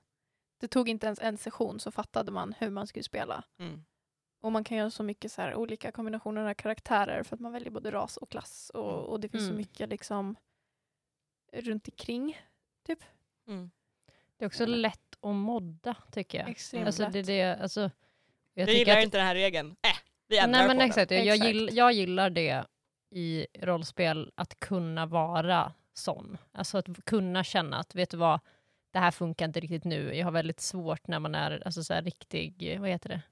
[SPEAKER 4] det tog inte ens en session så fattade man hur man skulle spela.
[SPEAKER 2] Mm.
[SPEAKER 4] Och man kan göra så mycket så här, olika kombinationer av karaktärer för att man väljer både ras och klass. Och, och det finns så
[SPEAKER 3] Mm.
[SPEAKER 4] mycket liksom runt omkring.
[SPEAKER 2] Mm.
[SPEAKER 3] det är också lätt att modda tycker jag.
[SPEAKER 4] Extremt
[SPEAKER 3] Alltså
[SPEAKER 4] lätt.
[SPEAKER 3] det är det, alltså. Jag,
[SPEAKER 2] Jag,
[SPEAKER 3] tycker
[SPEAKER 2] gillar
[SPEAKER 3] att-
[SPEAKER 2] inte den här regeln. Äh, vi ändrar
[SPEAKER 3] Nej men
[SPEAKER 2] på
[SPEAKER 3] exakt, jag, jag,
[SPEAKER 4] Exakt.
[SPEAKER 3] gill, jag gillar det i rollspel, att kunna vara sån. Alltså att kunna känna att, vet du vad, det här funkar inte riktigt nu. Jag har väldigt svårt när man är alltså, så här, riktig, vad heter det?
[SPEAKER 2] den.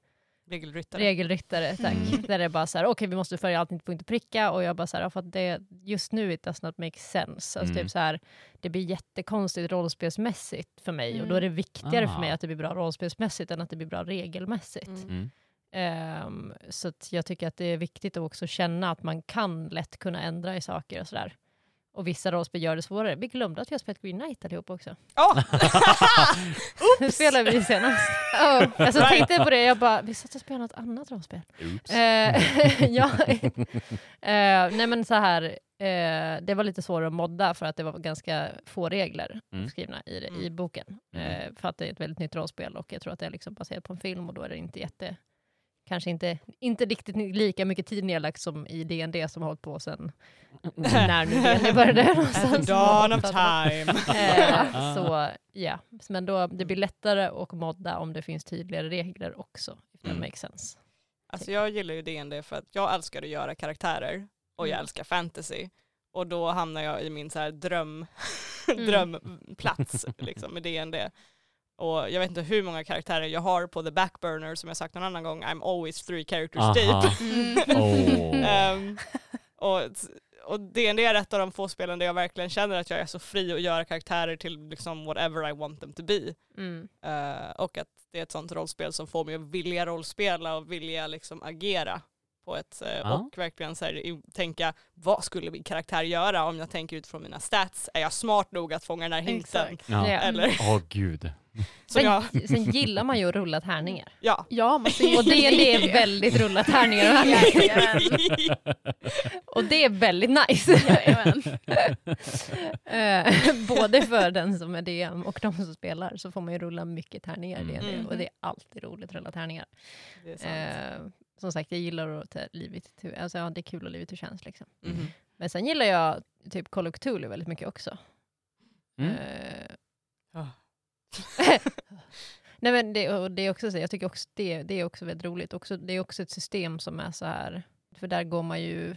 [SPEAKER 2] Regelryttare.
[SPEAKER 3] Regelryttare, tack.
[SPEAKER 1] Mm.
[SPEAKER 3] Där det är bara så här, okej vi måste följa allting till punkt och pricka och jag bara så här, ja, för att det just nu it does not make sense. Alltså
[SPEAKER 1] Mm.
[SPEAKER 3] typ så här, det blir jättekonstigt rollspelsmässigt för mig och då är det viktigare
[SPEAKER 1] Ah.
[SPEAKER 3] för mig att det blir bra rollspelsmässigt än att det blir bra regelmässigt.
[SPEAKER 2] Mm.
[SPEAKER 1] Mm.
[SPEAKER 3] Ehm, så att jag tycker att det är viktigt att också känna att man kan lätt kunna ändra i saker och sådär. Och vissa rollspel gör det svårare. Vi glömde att vi har spelat Green Knight allihop också.
[SPEAKER 2] Åh!
[SPEAKER 3] Hur spelade vi senast? Oh, alltså tänkte jag på det, jag bara, vi satt och spelade något annat rollspel.
[SPEAKER 1] Oops.
[SPEAKER 3] Eh, ja. Eh, nej men så här, eh, det var lite svårare att modda för att det var ganska få regler
[SPEAKER 1] Mm.
[SPEAKER 3] skrivna i, det, i
[SPEAKER 2] Mm.
[SPEAKER 3] boken. Eh, för att det är ett väldigt nytt rollspel och jag tror att det är liksom baserat på en film och då är det inte jätte, kanske inte, inte riktigt lika mycket tid nedlagt som i D&D som har hållit på sedan när nu D&D började.
[SPEAKER 2] At
[SPEAKER 3] någonstans.
[SPEAKER 2] the dawn
[SPEAKER 3] Alltså,
[SPEAKER 2] of time. Ah.
[SPEAKER 3] Eh, så ja, men då, det
[SPEAKER 2] Mm.
[SPEAKER 3] blir lättare att modda om det finns tydligare regler också. If that
[SPEAKER 1] Mm.
[SPEAKER 3] makes sense.
[SPEAKER 2] Alltså jag gillar ju D&D för att jag älskar att göra karaktärer och jag
[SPEAKER 3] Mm.
[SPEAKER 2] älskar fantasy. Och då hamnar jag i min så här dröm,
[SPEAKER 3] Mm.
[SPEAKER 2] drömplats liksom, med D&D. Och jag vet inte hur många karaktärer jag har på the backburner som jag sagt någon annan gång, I'm always three characters deep.
[SPEAKER 3] Mm.
[SPEAKER 1] Åh.
[SPEAKER 2] Ehm, och och D&D är ett av de få spelen där jag verkligen känner att jag är så fri att göra karaktärer till liksom whatever I want them to be.
[SPEAKER 3] Mm.
[SPEAKER 2] Eh, och att det är ett sånt rollspel som får mig att vilja rollspela och vilja liksom agera på ett, eh,
[SPEAKER 1] Ja.
[SPEAKER 2] och verkligen så här, i- tänka vad skulle min karaktär göra om jag tänker utifrån mina stats? Är jag smart nog att fånga den här hinten?
[SPEAKER 4] Exakt.
[SPEAKER 1] Ja.
[SPEAKER 3] Ja.
[SPEAKER 2] Eller,
[SPEAKER 1] Åh gud.
[SPEAKER 2] som
[SPEAKER 3] Sen,
[SPEAKER 2] jag,
[SPEAKER 3] sen gillar man ju att rulla tärningar.
[SPEAKER 2] ja.
[SPEAKER 4] Ja, man
[SPEAKER 2] Mm.
[SPEAKER 4] ser
[SPEAKER 3] Och det, det är väldigt rulla tärningar. den här gången. Och det är väldigt nice.
[SPEAKER 4] Jajamän.
[SPEAKER 3] Eh, Både för den som är DM och de som spelar så får man ju rulla mycket tärningar. Det är det.
[SPEAKER 2] Mm.
[SPEAKER 3] Och det är alltid roligt att rulla tärningar.
[SPEAKER 2] Det är sant.
[SPEAKER 3] Eh, som sagt, jag gillar att ta livet till, alltså, ja, det är kul att livet till tjänst. Liksom.
[SPEAKER 2] Mhm.
[SPEAKER 3] Men sen gillar jag typ Call of Cthulhu väldigt mycket också.
[SPEAKER 1] Mm.
[SPEAKER 3] Eh,
[SPEAKER 2] Ja.
[SPEAKER 3] Nej, men det, och det är också så, jag tycker också det, det är också väldigt roligt. Också, det är också ett system som är så här, för där går man ju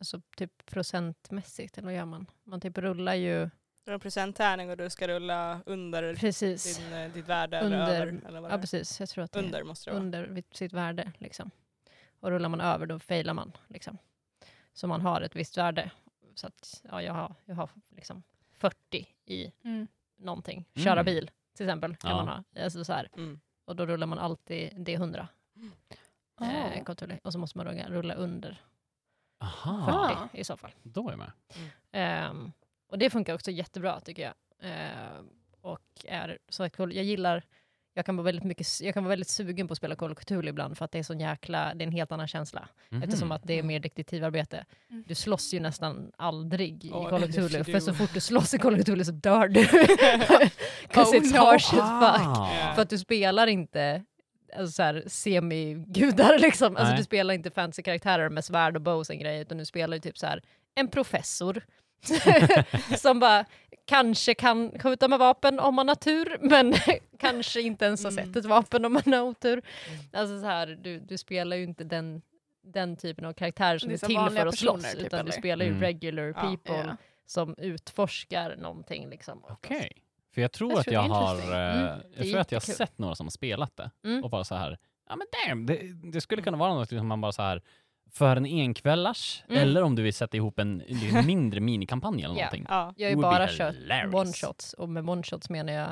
[SPEAKER 3] alltså, typ procentmässigt, eller vad gör man? Man typ rullar ju,
[SPEAKER 2] Du har en procenttärning och du ska rulla under
[SPEAKER 3] precis.
[SPEAKER 2] din, eh, ditt värde
[SPEAKER 3] Under-
[SPEAKER 2] eller över. Eller vad det
[SPEAKER 3] Ja,
[SPEAKER 2] är.
[SPEAKER 3] precis. Jag tror att det är
[SPEAKER 2] Under måste det vara.
[SPEAKER 3] under vid sitt värde. Liksom. Och rullar man över då failar man. Liksom. Så man har ett visst värde. Så att, ja, jag har, jag har liksom 40 i
[SPEAKER 4] Mm.
[SPEAKER 3] någonting. Köra
[SPEAKER 1] Mm.
[SPEAKER 3] bil till exempel kan
[SPEAKER 1] Ja.
[SPEAKER 3] man ha. Alltså, så här.
[SPEAKER 2] Mm.
[SPEAKER 3] Och då rullar man alltid D100. Eh, kontroll- och så måste man rulla, rulla under 40
[SPEAKER 1] Aha,
[SPEAKER 4] Ah.
[SPEAKER 3] i så fall.
[SPEAKER 1] då är jag
[SPEAKER 3] Mm.
[SPEAKER 1] med.
[SPEAKER 3] Ehm, och det funkar också jättebra tycker jag. Ehm, och är så att jag gillar, jag kan, vara väldigt mycket, jag kan vara väldigt sugen på att spela Call of Cthulhu ibland för att det är sån jäkla, det är en helt annan känsla.
[SPEAKER 1] Mhm.
[SPEAKER 3] Eftersom att det är mer detektivarbete.
[SPEAKER 4] Mm.
[SPEAKER 3] Du slåss ju nästan aldrig i
[SPEAKER 2] Ja,
[SPEAKER 3] Call of
[SPEAKER 2] det är
[SPEAKER 3] Cthulhu,
[SPEAKER 2] för
[SPEAKER 3] för så
[SPEAKER 2] du.
[SPEAKER 3] fort du slåss i Call of Cthulhu så dör du. Cause
[SPEAKER 4] Oh
[SPEAKER 3] it's
[SPEAKER 4] no.
[SPEAKER 3] harsh as fuck.
[SPEAKER 1] Ah.
[SPEAKER 3] För att du spelar inte alltså så här, semigudar liksom. Alltså
[SPEAKER 1] Nej.
[SPEAKER 3] du spelar inte fancy karaktärer med svärd och bows och grejer, utan du spelar ju typ så här en professor. som bara kanske kan skjuta med vapen om man har tur, men kanske inte ens har
[SPEAKER 2] Mm.
[SPEAKER 3] sett ett vapen om man har otur.
[SPEAKER 4] Mm.
[SPEAKER 3] Alltså så här, du, du spelar ju inte den, den typen av karaktär som
[SPEAKER 4] Det är
[SPEAKER 3] är,
[SPEAKER 4] så
[SPEAKER 3] till
[SPEAKER 4] vanliga
[SPEAKER 3] för att slåss,
[SPEAKER 4] personer, typ,
[SPEAKER 3] utan du
[SPEAKER 4] eller?
[SPEAKER 3] spelar ju
[SPEAKER 1] Mm.
[SPEAKER 3] regular
[SPEAKER 2] Ja.
[SPEAKER 3] people
[SPEAKER 4] Ja.
[SPEAKER 3] som utforskar någonting. Liksom,
[SPEAKER 1] Okej. För jag tror
[SPEAKER 4] Jag
[SPEAKER 1] att
[SPEAKER 4] tror
[SPEAKER 1] jag
[SPEAKER 4] det är
[SPEAKER 1] har
[SPEAKER 4] interesting.
[SPEAKER 1] eh,
[SPEAKER 3] Mm, det
[SPEAKER 1] jag
[SPEAKER 3] är
[SPEAKER 1] tror att jag har
[SPEAKER 3] jättekul.
[SPEAKER 1] sett några som har spelat det
[SPEAKER 3] Mm.
[SPEAKER 1] och bara så här, ja men damn, det, det skulle kunna vara något liksom man bara så här för en enkvällars
[SPEAKER 3] Mm.
[SPEAKER 1] eller om du vill sätta ihop en lite mindre minikampanj eller
[SPEAKER 3] Ja.
[SPEAKER 1] någonting.
[SPEAKER 2] Ja.
[SPEAKER 3] Jag har ju
[SPEAKER 1] Would be
[SPEAKER 3] bara kört
[SPEAKER 1] hilarious.
[SPEAKER 3] one-shots, och med one-shots menar jag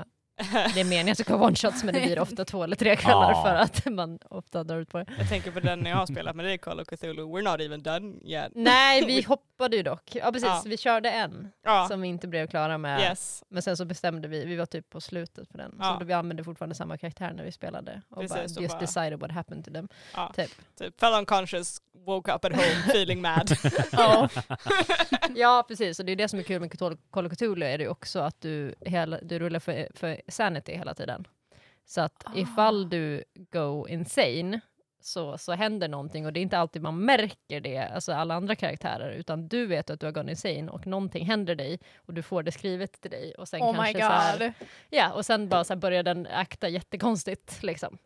[SPEAKER 3] Det är meningen att det ska vara one-shots men det blir ofta två eller tre
[SPEAKER 1] Ja.
[SPEAKER 3] kvällar för att man ofta drar ut på det.
[SPEAKER 2] Jag tänker på den jag har spelat med dig, Call of Cthulhu. We're not even done yet.
[SPEAKER 3] Nej, vi hoppade ju dock. Ja precis,
[SPEAKER 2] Ja.
[SPEAKER 3] vi körde en
[SPEAKER 2] Ja,
[SPEAKER 3] som vi inte blev klara med.
[SPEAKER 2] yes.
[SPEAKER 3] Men sen så bestämde vi, vi var typ på slutet på den,
[SPEAKER 2] Ja.
[SPEAKER 3] så då vi använde fortfarande samma karaktär när vi spelade. Och
[SPEAKER 2] Precis,
[SPEAKER 3] bara,
[SPEAKER 2] och
[SPEAKER 3] just
[SPEAKER 2] bara-
[SPEAKER 3] decided what happened to them.
[SPEAKER 2] Ja.
[SPEAKER 3] Typ.
[SPEAKER 2] Typ, fell unconscious, woke up at home, feeling mad.
[SPEAKER 3] Ja. ja precis, och det är det som är kul med Cthul- Call of Cthulhu är det ju också att du, hela, du rullar för, för sanity hela tiden. Så att
[SPEAKER 4] Ah.
[SPEAKER 3] ifall du go insane så, så händer någonting och det är inte alltid man märker det, alltså alla andra karaktärer, utan du vet att du har gone insane och någonting händer dig och du får det skrivet till dig och sen
[SPEAKER 4] Oh my
[SPEAKER 3] kanske
[SPEAKER 4] god.
[SPEAKER 3] så här, ja, och sen bara så här börjar den akta jättekonstigt liksom.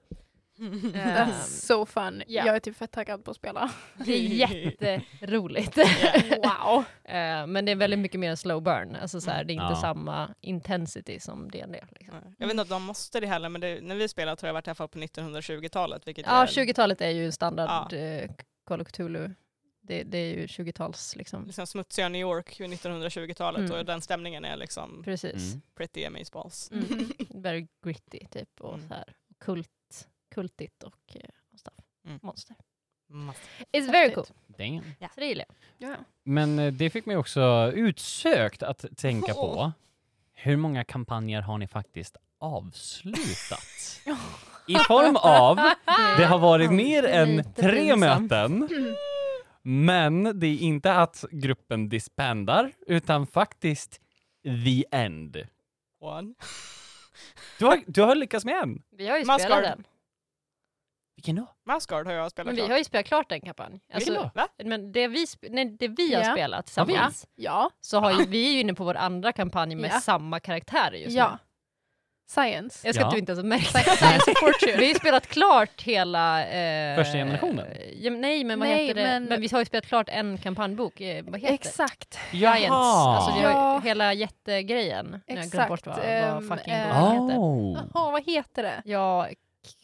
[SPEAKER 3] Ehm,
[SPEAKER 4] That's so fun.
[SPEAKER 3] ja.
[SPEAKER 4] Jag är typ fett taggad på att spela.
[SPEAKER 3] Ehm, det är jätteroligt.
[SPEAKER 4] Wow.
[SPEAKER 3] Eh, men det är väldigt mycket mer en slow burn. Alltså, så här, det är inte
[SPEAKER 1] Ja.
[SPEAKER 3] samma intensity som D&D. Liksom.
[SPEAKER 2] Jag vet inte om de måste det heller, men det, när vi spelade tror jag varit i alla fall på 1920-talet. Vilket
[SPEAKER 3] Ja,
[SPEAKER 2] är-
[SPEAKER 3] 20-talet är ju en standard
[SPEAKER 2] Ja.
[SPEAKER 3] eh, Call of Cthulhu. Det, det är ju 20-tals liksom.
[SPEAKER 2] liksom smutsiga New York vid 1920-talet
[SPEAKER 3] Mm.
[SPEAKER 2] och den stämningen är liksom
[SPEAKER 3] Precis.
[SPEAKER 1] Mm.
[SPEAKER 2] pretty amazeballs.
[SPEAKER 3] Mm. Very gritty typ och
[SPEAKER 2] Mm.
[SPEAKER 3] så här kult, kultigt och eh, och stuff.
[SPEAKER 2] Mm.
[SPEAKER 3] monster.
[SPEAKER 2] Mm.
[SPEAKER 3] It's very
[SPEAKER 4] Häftigt.
[SPEAKER 3] cool.
[SPEAKER 1] Damn.
[SPEAKER 3] Så det gillar jag.
[SPEAKER 4] Ja.
[SPEAKER 1] Men eh, det fick mig också utsökt att tänka på hur många kampanjer har ni faktiskt avslutat? I form av, det har varit mer än
[SPEAKER 3] Lite
[SPEAKER 1] tre
[SPEAKER 3] pinsamt.
[SPEAKER 1] möten, men det är inte att gruppen disbandar, utan faktiskt the end.
[SPEAKER 2] One.
[SPEAKER 1] Du har, du har lyckats med en!
[SPEAKER 3] Vi har ju
[SPEAKER 2] Man
[SPEAKER 3] spelat
[SPEAKER 2] ska-
[SPEAKER 3] den.
[SPEAKER 1] Vilken då?
[SPEAKER 2] Maskard har jag
[SPEAKER 3] Men
[SPEAKER 2] spelat
[SPEAKER 3] vi
[SPEAKER 2] klart.
[SPEAKER 3] har ju spelat klart den kampanjen. Alltså,
[SPEAKER 1] då?
[SPEAKER 2] Va?
[SPEAKER 3] men det vi, sp- nej, det vi har
[SPEAKER 4] Ja.
[SPEAKER 3] spelat
[SPEAKER 1] Har vi?
[SPEAKER 3] tillsammans
[SPEAKER 4] Ja.
[SPEAKER 3] så har ju, vi är ju inne på vår andra kampanj med
[SPEAKER 4] Ja.
[SPEAKER 3] samma karaktärer just nu.
[SPEAKER 4] ja. Science.
[SPEAKER 3] Jag ska
[SPEAKER 1] Ja.
[SPEAKER 3] att du inte ens märker det. Vi har ju spelat klart hela... Eh,
[SPEAKER 1] Första generationen?
[SPEAKER 3] Ja, men nej, men vad
[SPEAKER 4] Nej,
[SPEAKER 3] heter det? Men...
[SPEAKER 4] men-
[SPEAKER 3] vi har ju spelat klart en kampanjbok. Eh, vad heter det?
[SPEAKER 4] Exakt.
[SPEAKER 3] Giants. Alltså vi har
[SPEAKER 4] Ja.
[SPEAKER 3] ju hela jättegrejen. Nu har Jag glömt
[SPEAKER 4] Exakt,
[SPEAKER 3] bort vad,
[SPEAKER 4] ehm,
[SPEAKER 3] vad fucking
[SPEAKER 4] eh,
[SPEAKER 3] boken heter.
[SPEAKER 1] oh.
[SPEAKER 4] Jaha, vad heter det?
[SPEAKER 3] Ja,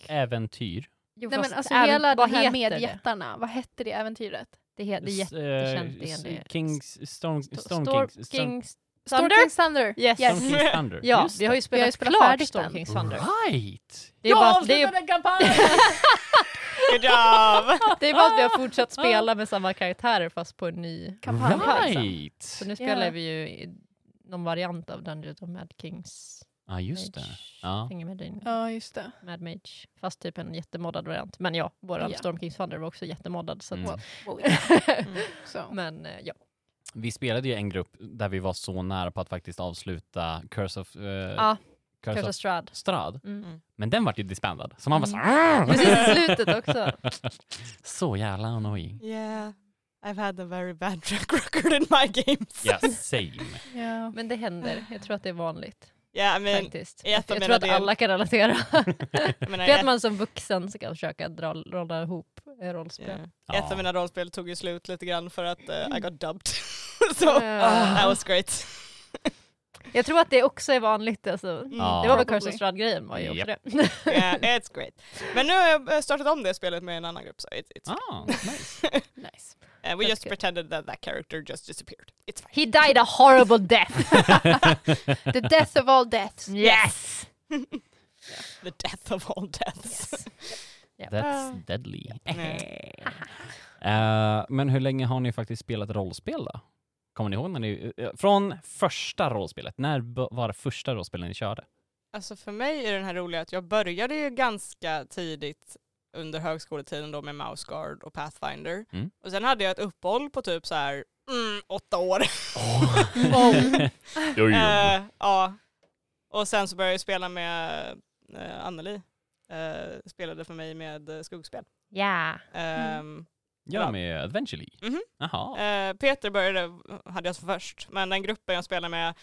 [SPEAKER 1] Äventyr.
[SPEAKER 3] jo,
[SPEAKER 4] Nej, men
[SPEAKER 3] fast
[SPEAKER 4] alltså
[SPEAKER 3] även-
[SPEAKER 4] hela
[SPEAKER 3] vad
[SPEAKER 4] den här
[SPEAKER 3] heter
[SPEAKER 4] med
[SPEAKER 3] det?
[SPEAKER 4] jättarna, vad hette det äventyret?
[SPEAKER 3] Det, he- det är jätte... jättekänt
[SPEAKER 1] S-
[SPEAKER 3] igen,
[SPEAKER 1] eh,
[SPEAKER 3] det-
[SPEAKER 1] Kings, Storm,
[SPEAKER 3] Sto-
[SPEAKER 1] Storm,
[SPEAKER 3] Storm
[SPEAKER 1] Kings, Storm,
[SPEAKER 3] Kings
[SPEAKER 4] Storm
[SPEAKER 3] Thunder?
[SPEAKER 4] King's Thunder.
[SPEAKER 3] Yes.
[SPEAKER 1] Storm Kings Thunder.
[SPEAKER 3] Ja,
[SPEAKER 1] Just
[SPEAKER 3] vi har ju
[SPEAKER 4] Vi har ju
[SPEAKER 3] spelat
[SPEAKER 4] spelat
[SPEAKER 3] klart
[SPEAKER 4] färdigt
[SPEAKER 3] Storm
[SPEAKER 4] den.
[SPEAKER 3] Kings Thunder.
[SPEAKER 1] Right!
[SPEAKER 3] Det är bara, det är,
[SPEAKER 4] avslutade en kampanj!
[SPEAKER 2] Good job!
[SPEAKER 3] Det är bara att vi
[SPEAKER 4] Ah!
[SPEAKER 3] har fortsatt spela med samma karaktärer fast på en ny.
[SPEAKER 4] Kampanj.
[SPEAKER 1] Right!
[SPEAKER 3] Så nu spelar
[SPEAKER 4] Ja.
[SPEAKER 3] vi ju i någon variant av Dungeons of Mad Kings.
[SPEAKER 1] Ja, just det.
[SPEAKER 3] Mage,
[SPEAKER 1] Ja.
[SPEAKER 3] Finger Med Din-
[SPEAKER 4] Ja, just det.
[SPEAKER 3] Mad Mage. Fast typ en jättemoddad variant. Men ja, vår
[SPEAKER 4] Ja.
[SPEAKER 3] Storm Kings Thunder var också jättemoddad. Så att,
[SPEAKER 1] Mm.
[SPEAKER 4] Mm. Så.
[SPEAKER 3] Men eh, ja.
[SPEAKER 1] Vi spelade ju en grupp där vi var så nära på att faktiskt avsluta Curse of, eh,
[SPEAKER 3] Ah,
[SPEAKER 1] Curse
[SPEAKER 3] Curse
[SPEAKER 1] of
[SPEAKER 3] of Strahd.
[SPEAKER 1] Strad,
[SPEAKER 3] Mm.
[SPEAKER 1] men den vart ju disbandad. Så man var så "Ah!"
[SPEAKER 3] Precis i slutet också.
[SPEAKER 1] så jävla annoying.
[SPEAKER 2] Yeah, I've had a very bad track record in my games.
[SPEAKER 1] Ja, same.
[SPEAKER 4] Ja.
[SPEAKER 3] Men det händer. Jag tror att det är vanligt
[SPEAKER 2] Yeah, I mean,
[SPEAKER 3] faktiskt.
[SPEAKER 2] jag
[SPEAKER 3] Att- Jag tror
[SPEAKER 2] menar
[SPEAKER 3] att
[SPEAKER 2] det-
[SPEAKER 3] alla kan relatera.
[SPEAKER 2] jag menar,
[SPEAKER 3] Det är
[SPEAKER 2] ett,
[SPEAKER 3] att man som vuxen ska försöka dra, rolla ihop eh, rollspel.
[SPEAKER 2] yeah. ett av
[SPEAKER 1] Ja.
[SPEAKER 2] mina rollspel tog ju slut lite grann för att eh, I got dubbed. so
[SPEAKER 3] Ah.
[SPEAKER 2] that was great.
[SPEAKER 3] Jag tror att det också är vanligt. Alltså.
[SPEAKER 2] Mm.
[SPEAKER 1] Ja.
[SPEAKER 3] Det var väl
[SPEAKER 4] Probably.
[SPEAKER 3] Curse of Strahd-grejen var ju också
[SPEAKER 1] Japp.
[SPEAKER 3] det.
[SPEAKER 2] Yeah, it's great. Men nu har jag eh, startat om det spelet med en annan grupp. Så it, it's
[SPEAKER 1] Ah, nice.
[SPEAKER 4] Nice.
[SPEAKER 2] uh, we
[SPEAKER 3] that's
[SPEAKER 2] just
[SPEAKER 3] good.
[SPEAKER 2] pretended that that character just disappeared. It's fine.
[SPEAKER 3] He died a horrible death.
[SPEAKER 4] The death of all deaths.
[SPEAKER 3] Yes!
[SPEAKER 2] The death of all deaths.
[SPEAKER 1] That's deadly.
[SPEAKER 2] Nej.
[SPEAKER 1] Eh, men hur länge har ni faktiskt spelat rollspel då? Kommer ni ihåg när ni... eh, från första rollspelet, när b- var det första rollspelet ni körde?
[SPEAKER 2] Alltså för mig är den här roliga att jag började ju ganska tidigt under högskoletiden då med Mouse Guard och Pathfinder.
[SPEAKER 1] Mm.
[SPEAKER 2] Och sen hade jag ett uppehåll på typ så här mm, åtta år. Eh, ja. Och sen så började jag spela med uh, Anneli. Eh, spelade för mig med eh, skuggspel.
[SPEAKER 3] Ja.
[SPEAKER 2] Ehm,
[SPEAKER 1] Ja, med Adventurely.
[SPEAKER 2] Mhm.
[SPEAKER 1] Jaha.
[SPEAKER 2] Eh, Peter började, hade jag som först, men den gruppen jag spelade med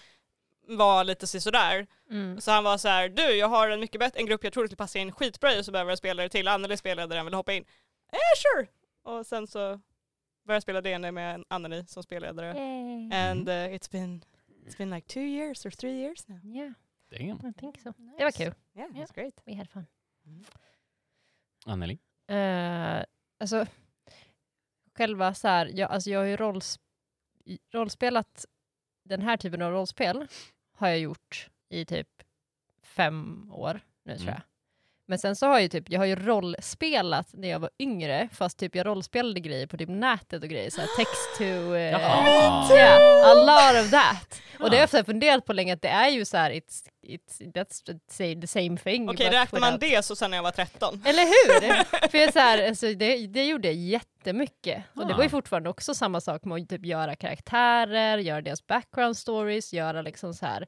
[SPEAKER 2] var lite sisådär.
[SPEAKER 3] Mm.
[SPEAKER 2] Så han var så här, du jag har en mycket bättre, en grupp jag tror skulle passa in skitbra i så behöver jag spelare till, Anneli spelade den, vill du hoppa in? Eh sure! Och sen så började jag spela D&D med en Anneli som spelledare.
[SPEAKER 3] Yay.
[SPEAKER 2] And eh, it's been It's been like two years or three years now.
[SPEAKER 3] Yeah,
[SPEAKER 1] Damn.
[SPEAKER 3] Mm, I think so. Det var kul.
[SPEAKER 2] Yeah,
[SPEAKER 4] Yeah.
[SPEAKER 2] that's great.
[SPEAKER 3] We had fun.
[SPEAKER 1] Anneli?
[SPEAKER 3] Eh, alltså, själva så här, jag, alltså jag har ju rolls, i- rollspelat, den här typen av rollspel har jag gjort i typ fem år nu tror
[SPEAKER 1] Mm.
[SPEAKER 3] jag. Men sen så har jag ju typ, jag har ju rollspelat när jag var yngre, fast typ jag rollspelade grejer på typ nätet och grejer, så här text to... eh,
[SPEAKER 1] Jaha.
[SPEAKER 3] Yeah, a lot of that. Och det har
[SPEAKER 1] Ah.
[SPEAKER 3] jag så här funderat på länge att det är ju så här, it's, it's, that's the- the same thing.
[SPEAKER 2] Okej,
[SPEAKER 3] but
[SPEAKER 2] räknar man
[SPEAKER 3] without-
[SPEAKER 2] det så sen när jag var 13?
[SPEAKER 3] eller hur? För jag är så här, alltså, det, det gjorde jag jättemycket. Och det
[SPEAKER 1] Ah.
[SPEAKER 3] var ju fortfarande också samma sak med att typ göra karaktärer, göra deras background stories, göra liksom så här.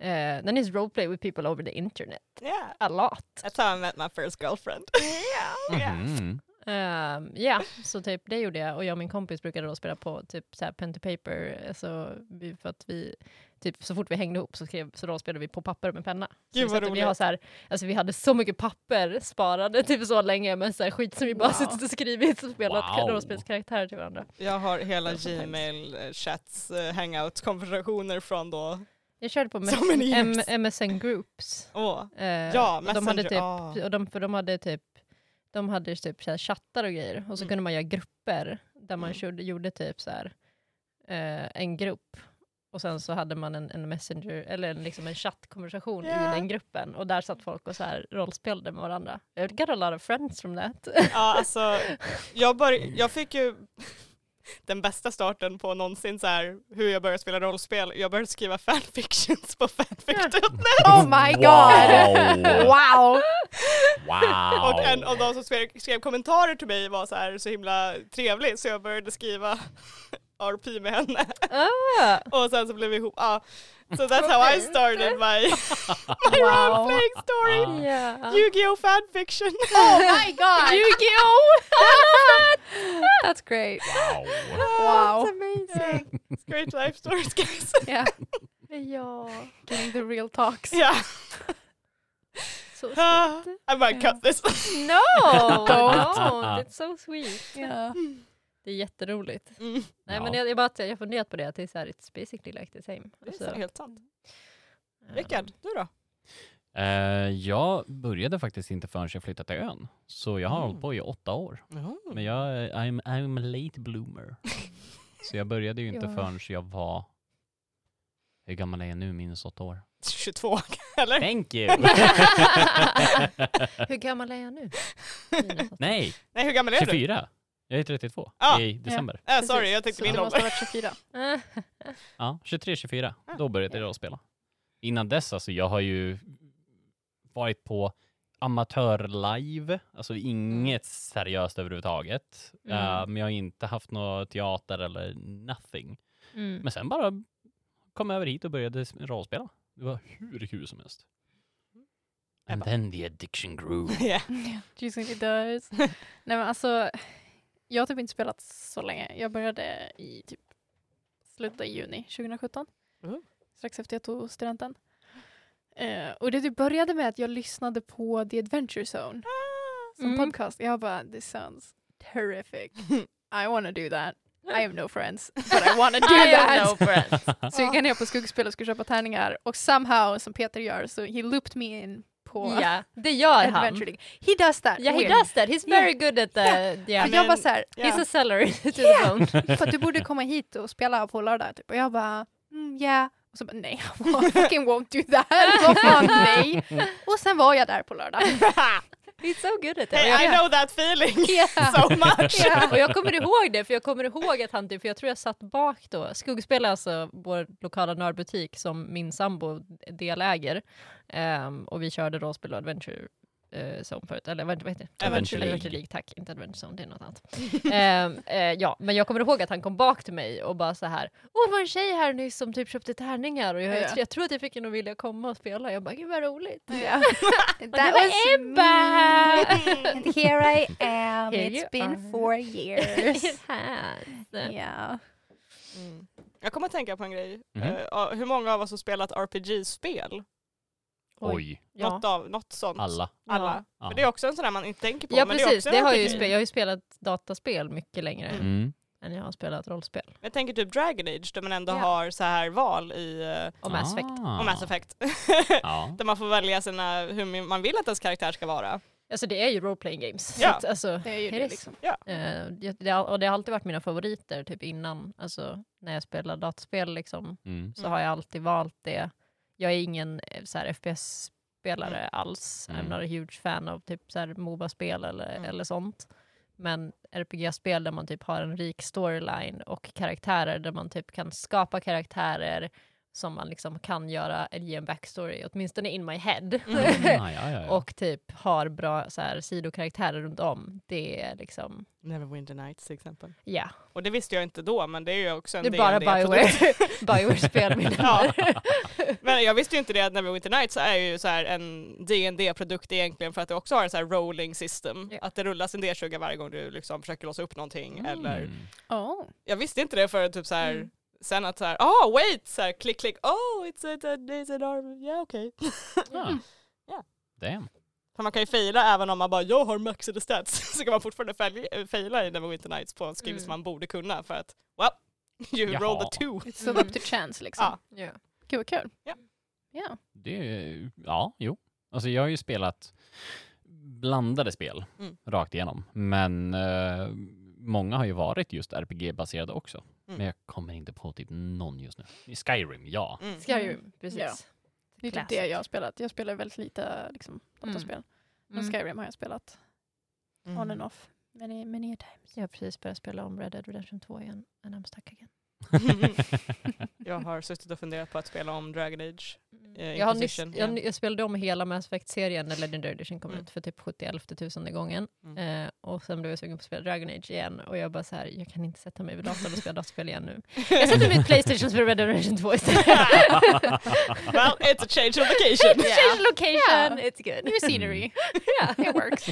[SPEAKER 3] Uh, then it's roleplay with people over the internet.
[SPEAKER 2] Yeah,
[SPEAKER 3] A lot.
[SPEAKER 2] that's how I met my first girlfriend. yeah.
[SPEAKER 1] Mhm.
[SPEAKER 3] Ja, så typ det gjorde jag. Och jag och min kompis brukade då spela på typ så här pen to paper. Alltså, vi, för att vi, typ, så fort vi hängde ihop så, skrev, så rollspelade vi på papper med penna. Så
[SPEAKER 2] Gud,
[SPEAKER 3] vi
[SPEAKER 2] vad
[SPEAKER 3] satt och vi,
[SPEAKER 2] roligt.
[SPEAKER 3] har så här, alltså, vi hade så mycket papper sparade typ så länge, men så här, skit som vi bara
[SPEAKER 4] Wow.
[SPEAKER 3] suttit och skrivit och spelat
[SPEAKER 1] Wow.
[SPEAKER 3] rollspelskaraktärer till varandra.
[SPEAKER 2] Jag har hela
[SPEAKER 3] Det var så
[SPEAKER 2] Gmail, eh, chats, eh, hangouts, konversationer från då.
[SPEAKER 3] Jag körde på
[SPEAKER 2] So many
[SPEAKER 3] M-
[SPEAKER 2] years.
[SPEAKER 3] M- MSN Groups.
[SPEAKER 2] Åh,
[SPEAKER 3] Eh,
[SPEAKER 2] ja,
[SPEAKER 3] och de hade
[SPEAKER 2] Messenger.
[SPEAKER 3] typ,
[SPEAKER 2] ah.
[SPEAKER 3] och de, för de hade typ, de hade typ så här chattar och grejer och så
[SPEAKER 2] Mm.
[SPEAKER 3] kunde man göra grupper där man
[SPEAKER 2] Mm.
[SPEAKER 3] körde, gjorde typ så här, eh, en grupp och sen så hade man en, en messenger eller en, liksom en chattkonversation
[SPEAKER 2] Ja.
[SPEAKER 3] i den gruppen och där satt folk och så här rollspelade med varandra. I got a lot of friends from that.
[SPEAKER 2] Ja, alltså, jag, bör, jag fick ju den bästa starten på någonsin så här, hur jag började spela rollspel. Jag började skriva fanfictions på fanfic.net
[SPEAKER 4] Oh my god!
[SPEAKER 1] Wow!
[SPEAKER 4] Wow!
[SPEAKER 1] wow.
[SPEAKER 2] och en av de som skrev, skrev kommentarer till mig var så här så himla trevlig så jag började skriva RP med henne
[SPEAKER 3] Ah,
[SPEAKER 2] och sen så blev vi ihop. Ja. So that's how I started my, my
[SPEAKER 3] Wow.
[SPEAKER 2] role-playing story.
[SPEAKER 3] yeah.
[SPEAKER 2] Yu-Gi-Oh! fanfiction.
[SPEAKER 4] Oh my god!
[SPEAKER 3] Yu-Gi-Oh!
[SPEAKER 4] That's great.
[SPEAKER 1] wow.
[SPEAKER 4] Wow.
[SPEAKER 3] amazing!
[SPEAKER 2] It's great life stories guys.
[SPEAKER 4] Yeah.
[SPEAKER 3] ja,
[SPEAKER 4] Getting the real talks.
[SPEAKER 2] Yeah.
[SPEAKER 3] så
[SPEAKER 2] Ah,
[SPEAKER 3] sweet.
[SPEAKER 2] I might cut this.
[SPEAKER 3] No! Don't! It's so sweet.
[SPEAKER 4] Yeah.
[SPEAKER 3] Det är jätteroligt.
[SPEAKER 2] Mm.
[SPEAKER 3] Nej,
[SPEAKER 1] Ja.
[SPEAKER 3] men jag, jag, bara, jag har funderat på det, att det är så här, it's basically like the same.
[SPEAKER 2] Det
[SPEAKER 3] Alltså,
[SPEAKER 2] är helt sant.
[SPEAKER 3] ehm,
[SPEAKER 2] Rickard, du då?
[SPEAKER 1] Eh, jag började faktiskt inte förrän jag flyttade till ön. Så jag har
[SPEAKER 2] Mm.
[SPEAKER 1] hållit på i åtta år. Men jag, eh, I'm, I'm a late bloomer. så jag började ju inte
[SPEAKER 3] Ja.
[SPEAKER 1] förrän jag var... Hur gammal är jag nu? Minus åtta år.
[SPEAKER 2] 22 eller?
[SPEAKER 1] Thank you!
[SPEAKER 3] Hur gammal är jag nu? Linus, att-
[SPEAKER 1] Nej,
[SPEAKER 2] Nej, hur gammal är du?
[SPEAKER 1] 24. Jag är 32
[SPEAKER 2] Ja.
[SPEAKER 1] i december.
[SPEAKER 2] Äh, sorry, jag tänkte
[SPEAKER 4] Så
[SPEAKER 2] min
[SPEAKER 4] du måste
[SPEAKER 2] ålder.
[SPEAKER 4] ha varit 24.
[SPEAKER 3] Eh,
[SPEAKER 1] Ja, 23-24.
[SPEAKER 2] Ah,
[SPEAKER 1] Då började
[SPEAKER 2] okej.
[SPEAKER 1] jag rollspela. Innan dess, alltså, jag har ju varit på amatörlive, alltså inget
[SPEAKER 2] Mm.
[SPEAKER 1] seriöst överhuvudtaget.
[SPEAKER 3] Mm.
[SPEAKER 1] Eh, men jag har inte haft någon teater eller nothing.
[SPEAKER 3] mm.
[SPEAKER 1] Men sen bara kom jag över hit och började s- rollspela. Det var hur kul som helst. And
[SPEAKER 2] Ebba.
[SPEAKER 1] then the addiction grew.
[SPEAKER 2] Ja.
[SPEAKER 4] Juicing it does. Nej men alltså, jag har typ inte spelat så länge. Jag började i typ slutet av juni 2017.
[SPEAKER 3] Mm.
[SPEAKER 2] Mhm.
[SPEAKER 4] Strax efter jag tog studenten. Eh, och det typ började med att jag lyssnade på The Adventure Zone som
[SPEAKER 3] Mm.
[SPEAKER 4] podcast. Jag bara, this sounds terrific. I wanna do that. I have no friends, but I wanna do
[SPEAKER 3] I
[SPEAKER 4] that.
[SPEAKER 3] have no friends.
[SPEAKER 4] Så jag gick ner på skuggspel och skulle köpa tärningar och somehow, som Peter gör, så he looped me in på
[SPEAKER 3] Ja, det gör han.
[SPEAKER 4] Adventure League. He does that.
[SPEAKER 3] Yeah, he
[SPEAKER 4] weird.
[SPEAKER 3] does that. He's
[SPEAKER 4] Yeah.
[SPEAKER 3] very good at the... Yeah.
[SPEAKER 4] För
[SPEAKER 2] Men-
[SPEAKER 4] jag bara såhär,
[SPEAKER 2] Ja.
[SPEAKER 3] He's a celery to the bone.
[SPEAKER 4] för att du borde komma hit och spela på lördag typ. Och jag bara, mm, yeah. Och så bara, nej, I fucking won't do that. Vad fan, nej. Och sen var jag där på lördag.
[SPEAKER 3] He's so good at it.
[SPEAKER 2] Hey, I know that feeling
[SPEAKER 4] Yeah.
[SPEAKER 2] so much.
[SPEAKER 3] Ja, och jag kommer ihåg det, för jag kommer ihåg att han, typ- för jag tror jag satt bak då. Skuggspel är alltså vår lokala nördbutik som min sambo deläger. Ehm, och vi körde rollspel och adventure eh, zone förut, eller vad vad heter det?
[SPEAKER 1] Adventure League.
[SPEAKER 3] adventure League. Tack, inte adventure zone, det är något annat. Ehm, eh, ja, men jag kommer ihåg att han kom bak till mig och bara så här, åh det var en tjej här nyss som typ köpte tärningar och jag,
[SPEAKER 4] Ja.
[SPEAKER 3] jag, tror- jag tror att jag fick henne att vilja komma och spela. Jag bara, gud vad roligt.
[SPEAKER 4] Yeah.
[SPEAKER 3] Och det var Ebba!
[SPEAKER 4] And here I am,
[SPEAKER 3] Here
[SPEAKER 4] it's
[SPEAKER 3] you
[SPEAKER 4] been
[SPEAKER 3] are.
[SPEAKER 4] four years.
[SPEAKER 3] It has.
[SPEAKER 4] yeah.
[SPEAKER 2] Mm. Jag kommer att tänka på en grej.
[SPEAKER 1] Mhm.
[SPEAKER 2] Eh, ja, hur många av oss har spelat RPG-spel?
[SPEAKER 1] Oj,
[SPEAKER 3] Ja.
[SPEAKER 2] Något, av, något sånt.
[SPEAKER 1] alla.
[SPEAKER 2] Alla.
[SPEAKER 1] Ja.
[SPEAKER 2] För det är också en sån där man inte tänker på.
[SPEAKER 3] Ja
[SPEAKER 2] men
[SPEAKER 3] precis,
[SPEAKER 2] det, är också en
[SPEAKER 3] det har jag, ju
[SPEAKER 2] RPG.
[SPEAKER 3] spe- jag har ju spelat dataspel mycket längre
[SPEAKER 2] Mm.
[SPEAKER 1] Mm.
[SPEAKER 3] än jag har spelat rollspel.
[SPEAKER 2] Jag tänker typ Dragon Age där man ändå
[SPEAKER 3] Ja.
[SPEAKER 2] har så här val i eh,
[SPEAKER 3] Och Mass Effect.
[SPEAKER 1] Ah.
[SPEAKER 2] och Mass Effect.
[SPEAKER 1] Ja.
[SPEAKER 2] där man får välja sina, hur man vill att ens karaktär ska vara.
[SPEAKER 3] Alltså det är ju role-playing games.
[SPEAKER 2] Ja.
[SPEAKER 3] Så att, alltså,
[SPEAKER 4] Det är ju
[SPEAKER 3] It
[SPEAKER 4] det
[SPEAKER 3] is.
[SPEAKER 4] liksom.
[SPEAKER 3] eh, det, det, har- och det har alltid varit mina favoriter typ innan, alltså när jag spelar dataspel liksom,
[SPEAKER 1] Mm.
[SPEAKER 3] så
[SPEAKER 2] Mm.
[SPEAKER 3] har jag alltid valt det. Jag är ingen eh, så här, FPS-spelare alls,
[SPEAKER 1] Mm.
[SPEAKER 3] I'm not a huge fan av typ så här, Moba-spel eller,
[SPEAKER 2] Mm.
[SPEAKER 3] eller sånt. Men RPG-spel där man typ har en rik storyline och karaktärer där man typ kan skapa karaktärer som man liksom kan göra, ge en backstory, åtminstone in my head.
[SPEAKER 2] Mm.
[SPEAKER 1] Ah, ja, ja, ja.
[SPEAKER 3] och typ har bra så här, sidokaraktärer runt om. Det är liksom,
[SPEAKER 2] Neverwinter Nights till exempel.
[SPEAKER 3] ja.
[SPEAKER 2] Och det visste jag inte då men det är ju också en
[SPEAKER 3] Det är bara
[SPEAKER 2] D&D -produkt.
[SPEAKER 3] Bioware, Bioware-spel. mina
[SPEAKER 2] Ja.
[SPEAKER 3] vänner.
[SPEAKER 2] Men jag visste ju inte det att Neverwinter Nights är ju så här en dd produkt egentligen för att det också har en så här rolling system.
[SPEAKER 3] Ja.
[SPEAKER 2] Att det rullas en D20 varje gång du liksom försöker låsa upp någonting.
[SPEAKER 3] Mm.
[SPEAKER 2] Eller,
[SPEAKER 1] Mm.
[SPEAKER 4] Oh.
[SPEAKER 2] jag visste inte det förrän typ så här,
[SPEAKER 4] Mm.
[SPEAKER 2] sen att så här, ah wait, så här, klick klick, oh it's, a, it's an arm, ja yeah, okej.
[SPEAKER 1] Ah.
[SPEAKER 2] Ja.
[SPEAKER 1] Damn.
[SPEAKER 2] För man kan ju fejla även om man bara jag har maxade stats så kan man fortfarande fäl- eh, fejla i Neverwinter Nights på en skill
[SPEAKER 3] Mm.
[SPEAKER 2] som man borde kunna för att well, you
[SPEAKER 1] Jaha.
[SPEAKER 2] rolled a two.
[SPEAKER 4] It's so
[SPEAKER 3] Mm.
[SPEAKER 4] up to chance liksom.
[SPEAKER 2] Ja.
[SPEAKER 4] Gud vad kul.
[SPEAKER 2] Ja.
[SPEAKER 4] Ja.
[SPEAKER 1] Det är, ja, jo. Alltså jag har ju spelat blandade spel
[SPEAKER 2] Mm.
[SPEAKER 1] rakt igenom, men eh, många har ju varit just RPG-baserade också.
[SPEAKER 2] Mm.
[SPEAKER 1] Men jag kommer inte på typ någon just nu. Skyrim, ja.
[SPEAKER 2] Mm.
[SPEAKER 3] Ska ju,
[SPEAKER 4] Mm.
[SPEAKER 3] precis.
[SPEAKER 4] Ja. Det är typ det
[SPEAKER 3] Classic.
[SPEAKER 4] jag har spelat. Jag spelar väldigt lite liksom, dataspel. Men
[SPEAKER 3] Mm.
[SPEAKER 4] Skyrim har jag spelat
[SPEAKER 2] Mm.
[SPEAKER 4] on and off. Many, many a times.
[SPEAKER 3] Jag har precis börjat spela om Red Dead Redemption 2 igen, and I'm stuck again.
[SPEAKER 2] Mm. Jag har suttit och funderat på att spela om Dragon Age. Eh,
[SPEAKER 4] Mm.
[SPEAKER 3] Jag, har nyss,
[SPEAKER 2] Inquisition,
[SPEAKER 3] jag,
[SPEAKER 2] ja.
[SPEAKER 3] ny- jag spelade om hela Mass Effect-serien när Legendary Edition kom
[SPEAKER 2] Mm.
[SPEAKER 3] ut för typ 70 gången. Eh, och sen blev jag sugen på att spela Dragon Age igen och jag bara så här, jag kan inte sätta mig vid datorn och spela dataspel igen nu. Jag sätter mig vid Playstation och spelar Red Dead Redemption 2 istället.
[SPEAKER 2] well, it's a change of vacation.
[SPEAKER 3] Change location,
[SPEAKER 4] Yeah.
[SPEAKER 3] it's good.
[SPEAKER 4] New scenery.
[SPEAKER 2] Mm.
[SPEAKER 3] Yeah.
[SPEAKER 4] It works.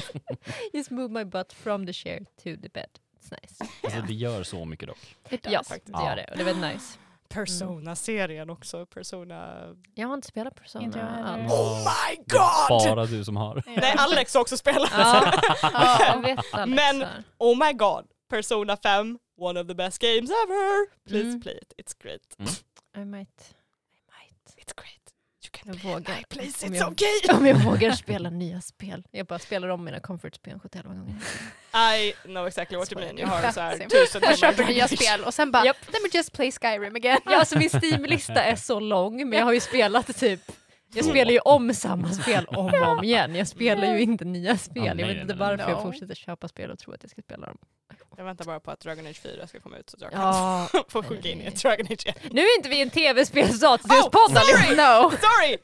[SPEAKER 3] Just move my butt from the chair to the bed. It's nice.
[SPEAKER 1] Alltså det gör så mycket dock.
[SPEAKER 4] It does.
[SPEAKER 3] Ja, det
[SPEAKER 2] faktiskt.
[SPEAKER 3] gör det. Och det var
[SPEAKER 2] Ah.
[SPEAKER 3] nice.
[SPEAKER 2] Persona-serien också. Persona...
[SPEAKER 3] Jag har inte spelat Persona
[SPEAKER 4] Inte jag heller.
[SPEAKER 3] alls.
[SPEAKER 2] Oh my
[SPEAKER 1] Det är
[SPEAKER 2] god! Äh.
[SPEAKER 1] Bara du som har.
[SPEAKER 4] Ja.
[SPEAKER 2] Nej, Alex har också spelat.
[SPEAKER 3] Ja, jag vet Alex.
[SPEAKER 2] Men-
[SPEAKER 3] Men,
[SPEAKER 2] Oh my god! Persona 5, one of the best games ever! Please
[SPEAKER 3] Mm.
[SPEAKER 2] play it, it's great.
[SPEAKER 3] I might, I might.
[SPEAKER 2] It's great. You can
[SPEAKER 3] Jag
[SPEAKER 2] play
[SPEAKER 3] vågar.
[SPEAKER 2] it, I place,
[SPEAKER 3] Om
[SPEAKER 2] it's
[SPEAKER 3] jag-
[SPEAKER 2] okay!
[SPEAKER 3] Om jag vågar spela nya spel. Jag bara spelar om mina comfortspel 71 gånger.
[SPEAKER 2] I know exactly what you mean. Jag har
[SPEAKER 4] Exakt.
[SPEAKER 2] så här tusen
[SPEAKER 4] Jag köper
[SPEAKER 2] timmar.
[SPEAKER 4] nya spel och sen bara,
[SPEAKER 3] Japp.
[SPEAKER 4] let me just play Skyrim again.
[SPEAKER 3] Ja, alltså min Steam-lista är så lång, men jag har ju spelat typ Jag
[SPEAKER 1] två.
[SPEAKER 3] spelar ju om samma spel om och om igen. Jag spelar ju inte nya spel.
[SPEAKER 1] Ja,
[SPEAKER 3] jag
[SPEAKER 1] nej,
[SPEAKER 3] vet
[SPEAKER 1] nej,
[SPEAKER 3] inte
[SPEAKER 1] nej,
[SPEAKER 3] varför
[SPEAKER 4] nej.
[SPEAKER 3] jag
[SPEAKER 4] No.
[SPEAKER 3] fortsätter köpa spel och tror att jag ska spela dem.
[SPEAKER 2] Jag väntar bara på att Dragon Age 4 ska komma ut så att jag kan
[SPEAKER 3] Ja.
[SPEAKER 2] få sjunka in i ett Dragon Age 1.
[SPEAKER 3] Nu är inte vi en tv-spelstatus-podd!
[SPEAKER 2] Oh, sorry!
[SPEAKER 3] no.
[SPEAKER 2] Sorry!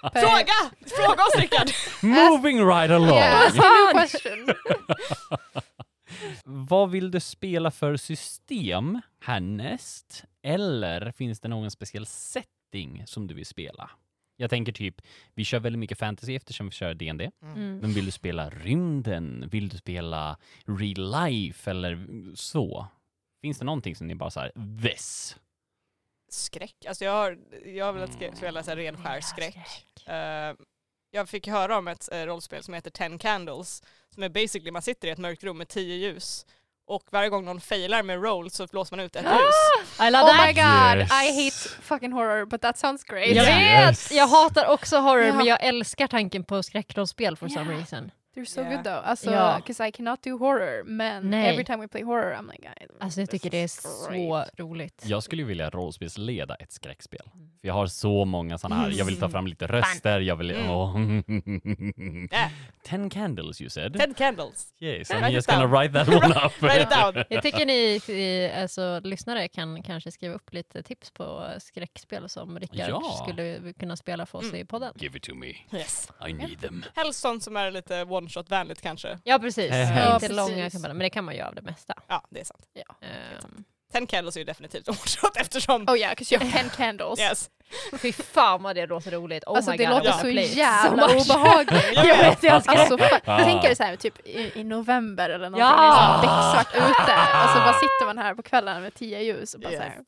[SPEAKER 4] Per-
[SPEAKER 2] Fråga! Fråga oss Rickard!
[SPEAKER 1] Moving right along!
[SPEAKER 4] Yeah,
[SPEAKER 2] alltså,
[SPEAKER 4] ask me a alltså question.
[SPEAKER 1] Vad vill du spela för system härnäst? Eller finns det någon speciell setting som du vill spela? Jag tänker typ, vi kör väldigt mycket fantasy eftersom vi kör D&D.
[SPEAKER 3] Mm.
[SPEAKER 1] Men vill du spela rymden? Vill du spela real life eller så? Finns det någonting som ni bara såhär, this?
[SPEAKER 2] Skräck. Alltså jag har, jag har velat sk- spela så här ren skär skräck. Eh, jag fick höra om ett eh, rollspel som heter Ten Candles. Som är basically, man sitter i ett mörkt rum med tio ljus. Och varje gång någon failar med roll så blåser man ut ett ljus.
[SPEAKER 3] I love
[SPEAKER 4] Oh
[SPEAKER 3] that!
[SPEAKER 4] my god,
[SPEAKER 1] Yes.
[SPEAKER 4] I hate fucking horror but that sounds great.
[SPEAKER 3] Jag vet!
[SPEAKER 1] Yes.
[SPEAKER 3] Jag hatar också horror
[SPEAKER 4] Ja.
[SPEAKER 3] men jag älskar tanken på skräckrollspel for some
[SPEAKER 4] Ja.
[SPEAKER 3] reason.
[SPEAKER 4] They're so
[SPEAKER 2] Yeah.
[SPEAKER 4] good though. Alltså,
[SPEAKER 3] Ja.
[SPEAKER 4] cause I cannot do horror men
[SPEAKER 3] Nej.
[SPEAKER 4] every time we play horror I'm like... I,
[SPEAKER 3] Alltså jag
[SPEAKER 4] this
[SPEAKER 3] tycker det är
[SPEAKER 4] is
[SPEAKER 3] så
[SPEAKER 4] great.
[SPEAKER 3] roligt.
[SPEAKER 1] Jag skulle ju vilja rollspelsleda ett skräckspel. För jag har så många såna här. Jag vill ta fram lite röster, jag vill...
[SPEAKER 2] Mm.
[SPEAKER 1] åh.
[SPEAKER 2] Yeah.
[SPEAKER 1] Ten candles you said?
[SPEAKER 2] Ten Candles.
[SPEAKER 1] Yes,
[SPEAKER 2] Write
[SPEAKER 1] I'm
[SPEAKER 2] it
[SPEAKER 1] just gonna
[SPEAKER 2] down.
[SPEAKER 1] write that one up.
[SPEAKER 2] Write it down.
[SPEAKER 3] Jag tycker ni, ni alltså, lyssnare kan kanske skriva upp lite tips på eh, skräckspel som Rickard
[SPEAKER 1] Ja.
[SPEAKER 3] skulle kunna spela för oss
[SPEAKER 2] Mm.
[SPEAKER 3] i podden.
[SPEAKER 1] Give it to me,
[SPEAKER 2] Yes.
[SPEAKER 1] I need them.
[SPEAKER 2] Helst sånt som är lite one-shot-vänligt kanske.
[SPEAKER 3] Ja precis,
[SPEAKER 1] Eh,
[SPEAKER 3] inte
[SPEAKER 1] Ja,
[SPEAKER 4] precis.
[SPEAKER 3] långa kampanjer, men det kan man göra av det mesta.
[SPEAKER 2] Ja, det är sant.
[SPEAKER 3] Ehm,
[SPEAKER 2] Ten Candles är ju definitivt one-shot eftersom...
[SPEAKER 4] Oh yeah, cause you have ten candles.
[SPEAKER 2] Yes.
[SPEAKER 3] fy fan vad det låter roligt. Oh
[SPEAKER 4] alltså
[SPEAKER 3] my
[SPEAKER 4] det
[SPEAKER 3] God, I
[SPEAKER 4] låter
[SPEAKER 3] wanna
[SPEAKER 4] så
[SPEAKER 3] play it
[SPEAKER 4] jävla
[SPEAKER 3] so much.
[SPEAKER 4] obehagligt.
[SPEAKER 2] Jag vet.
[SPEAKER 3] Jag ska-
[SPEAKER 4] Alltså, fa-
[SPEAKER 1] Ah.
[SPEAKER 4] Tänk er så här, typ i, i november eller någonting,
[SPEAKER 3] Ja.
[SPEAKER 4] det är så här becksvart ute och så bara sitter man här på kvällen med tio ljus och bara
[SPEAKER 2] Yes.
[SPEAKER 4] så här,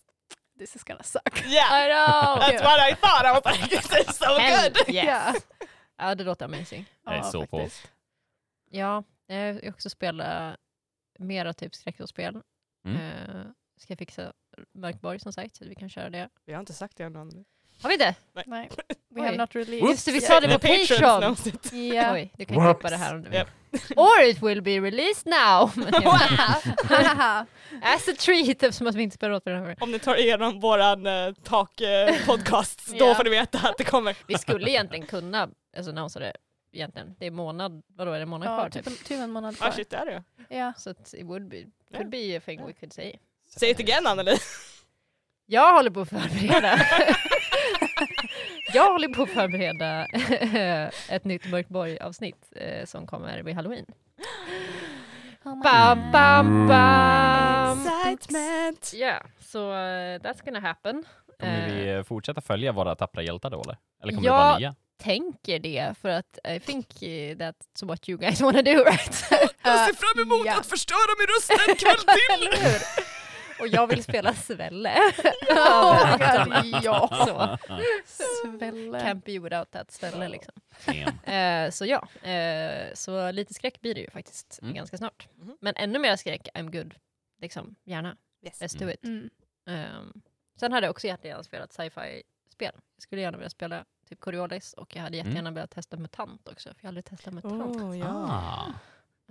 [SPEAKER 4] this is gonna suck.
[SPEAKER 3] I
[SPEAKER 2] Yeah,
[SPEAKER 3] know!
[SPEAKER 2] that's what I thought. I was like, this is so
[SPEAKER 3] Hell
[SPEAKER 2] good.
[SPEAKER 4] Ja.
[SPEAKER 3] yes. Ja det låter amazing.
[SPEAKER 1] Jag är
[SPEAKER 4] Ja,
[SPEAKER 1] så på.
[SPEAKER 4] faktiskt.
[SPEAKER 3] Ja, jag vill också spela mera typ skräckspel.
[SPEAKER 1] Mm.
[SPEAKER 3] Eh, ska jag fixa Mörkborg som sagt, så att vi kan köra det.
[SPEAKER 2] Vi har inte sagt det än. men-
[SPEAKER 3] Har vi det?
[SPEAKER 4] Nej, we
[SPEAKER 3] Oj.
[SPEAKER 4] have not released.
[SPEAKER 3] Just det, vi sa det
[SPEAKER 2] The
[SPEAKER 3] på
[SPEAKER 2] patrons
[SPEAKER 3] Patreon!
[SPEAKER 2] knows it.
[SPEAKER 4] Yeah.
[SPEAKER 3] Oj, du kan ju
[SPEAKER 1] Whoops.
[SPEAKER 3] klippa det här om du vill.
[SPEAKER 2] Yep.
[SPEAKER 3] Or it will be released now!
[SPEAKER 4] Haha.
[SPEAKER 3] As a treat, eftersom att vi inte spelar åt varandra.
[SPEAKER 2] Om ni tar igenom våran eh, tak-podcast, då
[SPEAKER 4] Ja.
[SPEAKER 2] får ni veta att det kommer.
[SPEAKER 3] Vi skulle egentligen kunna alltså, annonsa det egentligen. Det är månad, vadå är det en månad
[SPEAKER 4] ja,
[SPEAKER 3] kvar?
[SPEAKER 4] typ,
[SPEAKER 3] Typ.
[SPEAKER 4] en, typ en månad
[SPEAKER 2] Ah,
[SPEAKER 4] kvar.
[SPEAKER 2] shit, det är det ju.
[SPEAKER 4] Ja.
[SPEAKER 3] Så att it would be, could be a thing we could say.
[SPEAKER 2] Say it again, Anneli.
[SPEAKER 3] Jag håller på att förbereda. jag håller på att förbereda ett nytt Mörkborg-avsnitt eh, som kommer vid halloween. Bam, bam,
[SPEAKER 2] Mm.
[SPEAKER 3] bam!
[SPEAKER 2] Excitement!
[SPEAKER 3] Yeah, so uh, that's gonna happen.
[SPEAKER 1] Kommer
[SPEAKER 3] Eh,
[SPEAKER 1] vi fortsätta följa våra tappra hjältar då eller? Eller kommer
[SPEAKER 3] Ja.
[SPEAKER 1] det vara nya?
[SPEAKER 3] tänker det, för att I think eh, that's what you guys wanna do, right?
[SPEAKER 2] Jag ser fram emot
[SPEAKER 4] ja.
[SPEAKER 2] att förstöra min röst en kväll till!
[SPEAKER 3] Eller hur? Och jag vill spela Svelle.
[SPEAKER 4] Oh my god, ja.
[SPEAKER 3] Så,
[SPEAKER 4] Svälle.
[SPEAKER 3] can't be without that ställe liksom.
[SPEAKER 1] Damn.
[SPEAKER 3] Eh, så ja, eh, så lite skräck blir det ju faktiskt
[SPEAKER 1] Mm.
[SPEAKER 3] ganska snart.
[SPEAKER 2] Mhm.
[SPEAKER 3] Men ännu mer skräck, I'm good. Liksom, gärna.
[SPEAKER 2] Yes.
[SPEAKER 3] Let's do
[SPEAKER 1] Mm.
[SPEAKER 3] it.
[SPEAKER 4] Mm.
[SPEAKER 3] Ehm, sen hade jag också jättegärna spelat sci-fi-spel. Jag skulle gärna vilja spela typ Coriolis och jag hade
[SPEAKER 1] Mm.
[SPEAKER 3] jättegärna velat testa MUTANT också, för jag har aldrig testat MUTANT.
[SPEAKER 2] Oh,
[SPEAKER 1] Ah.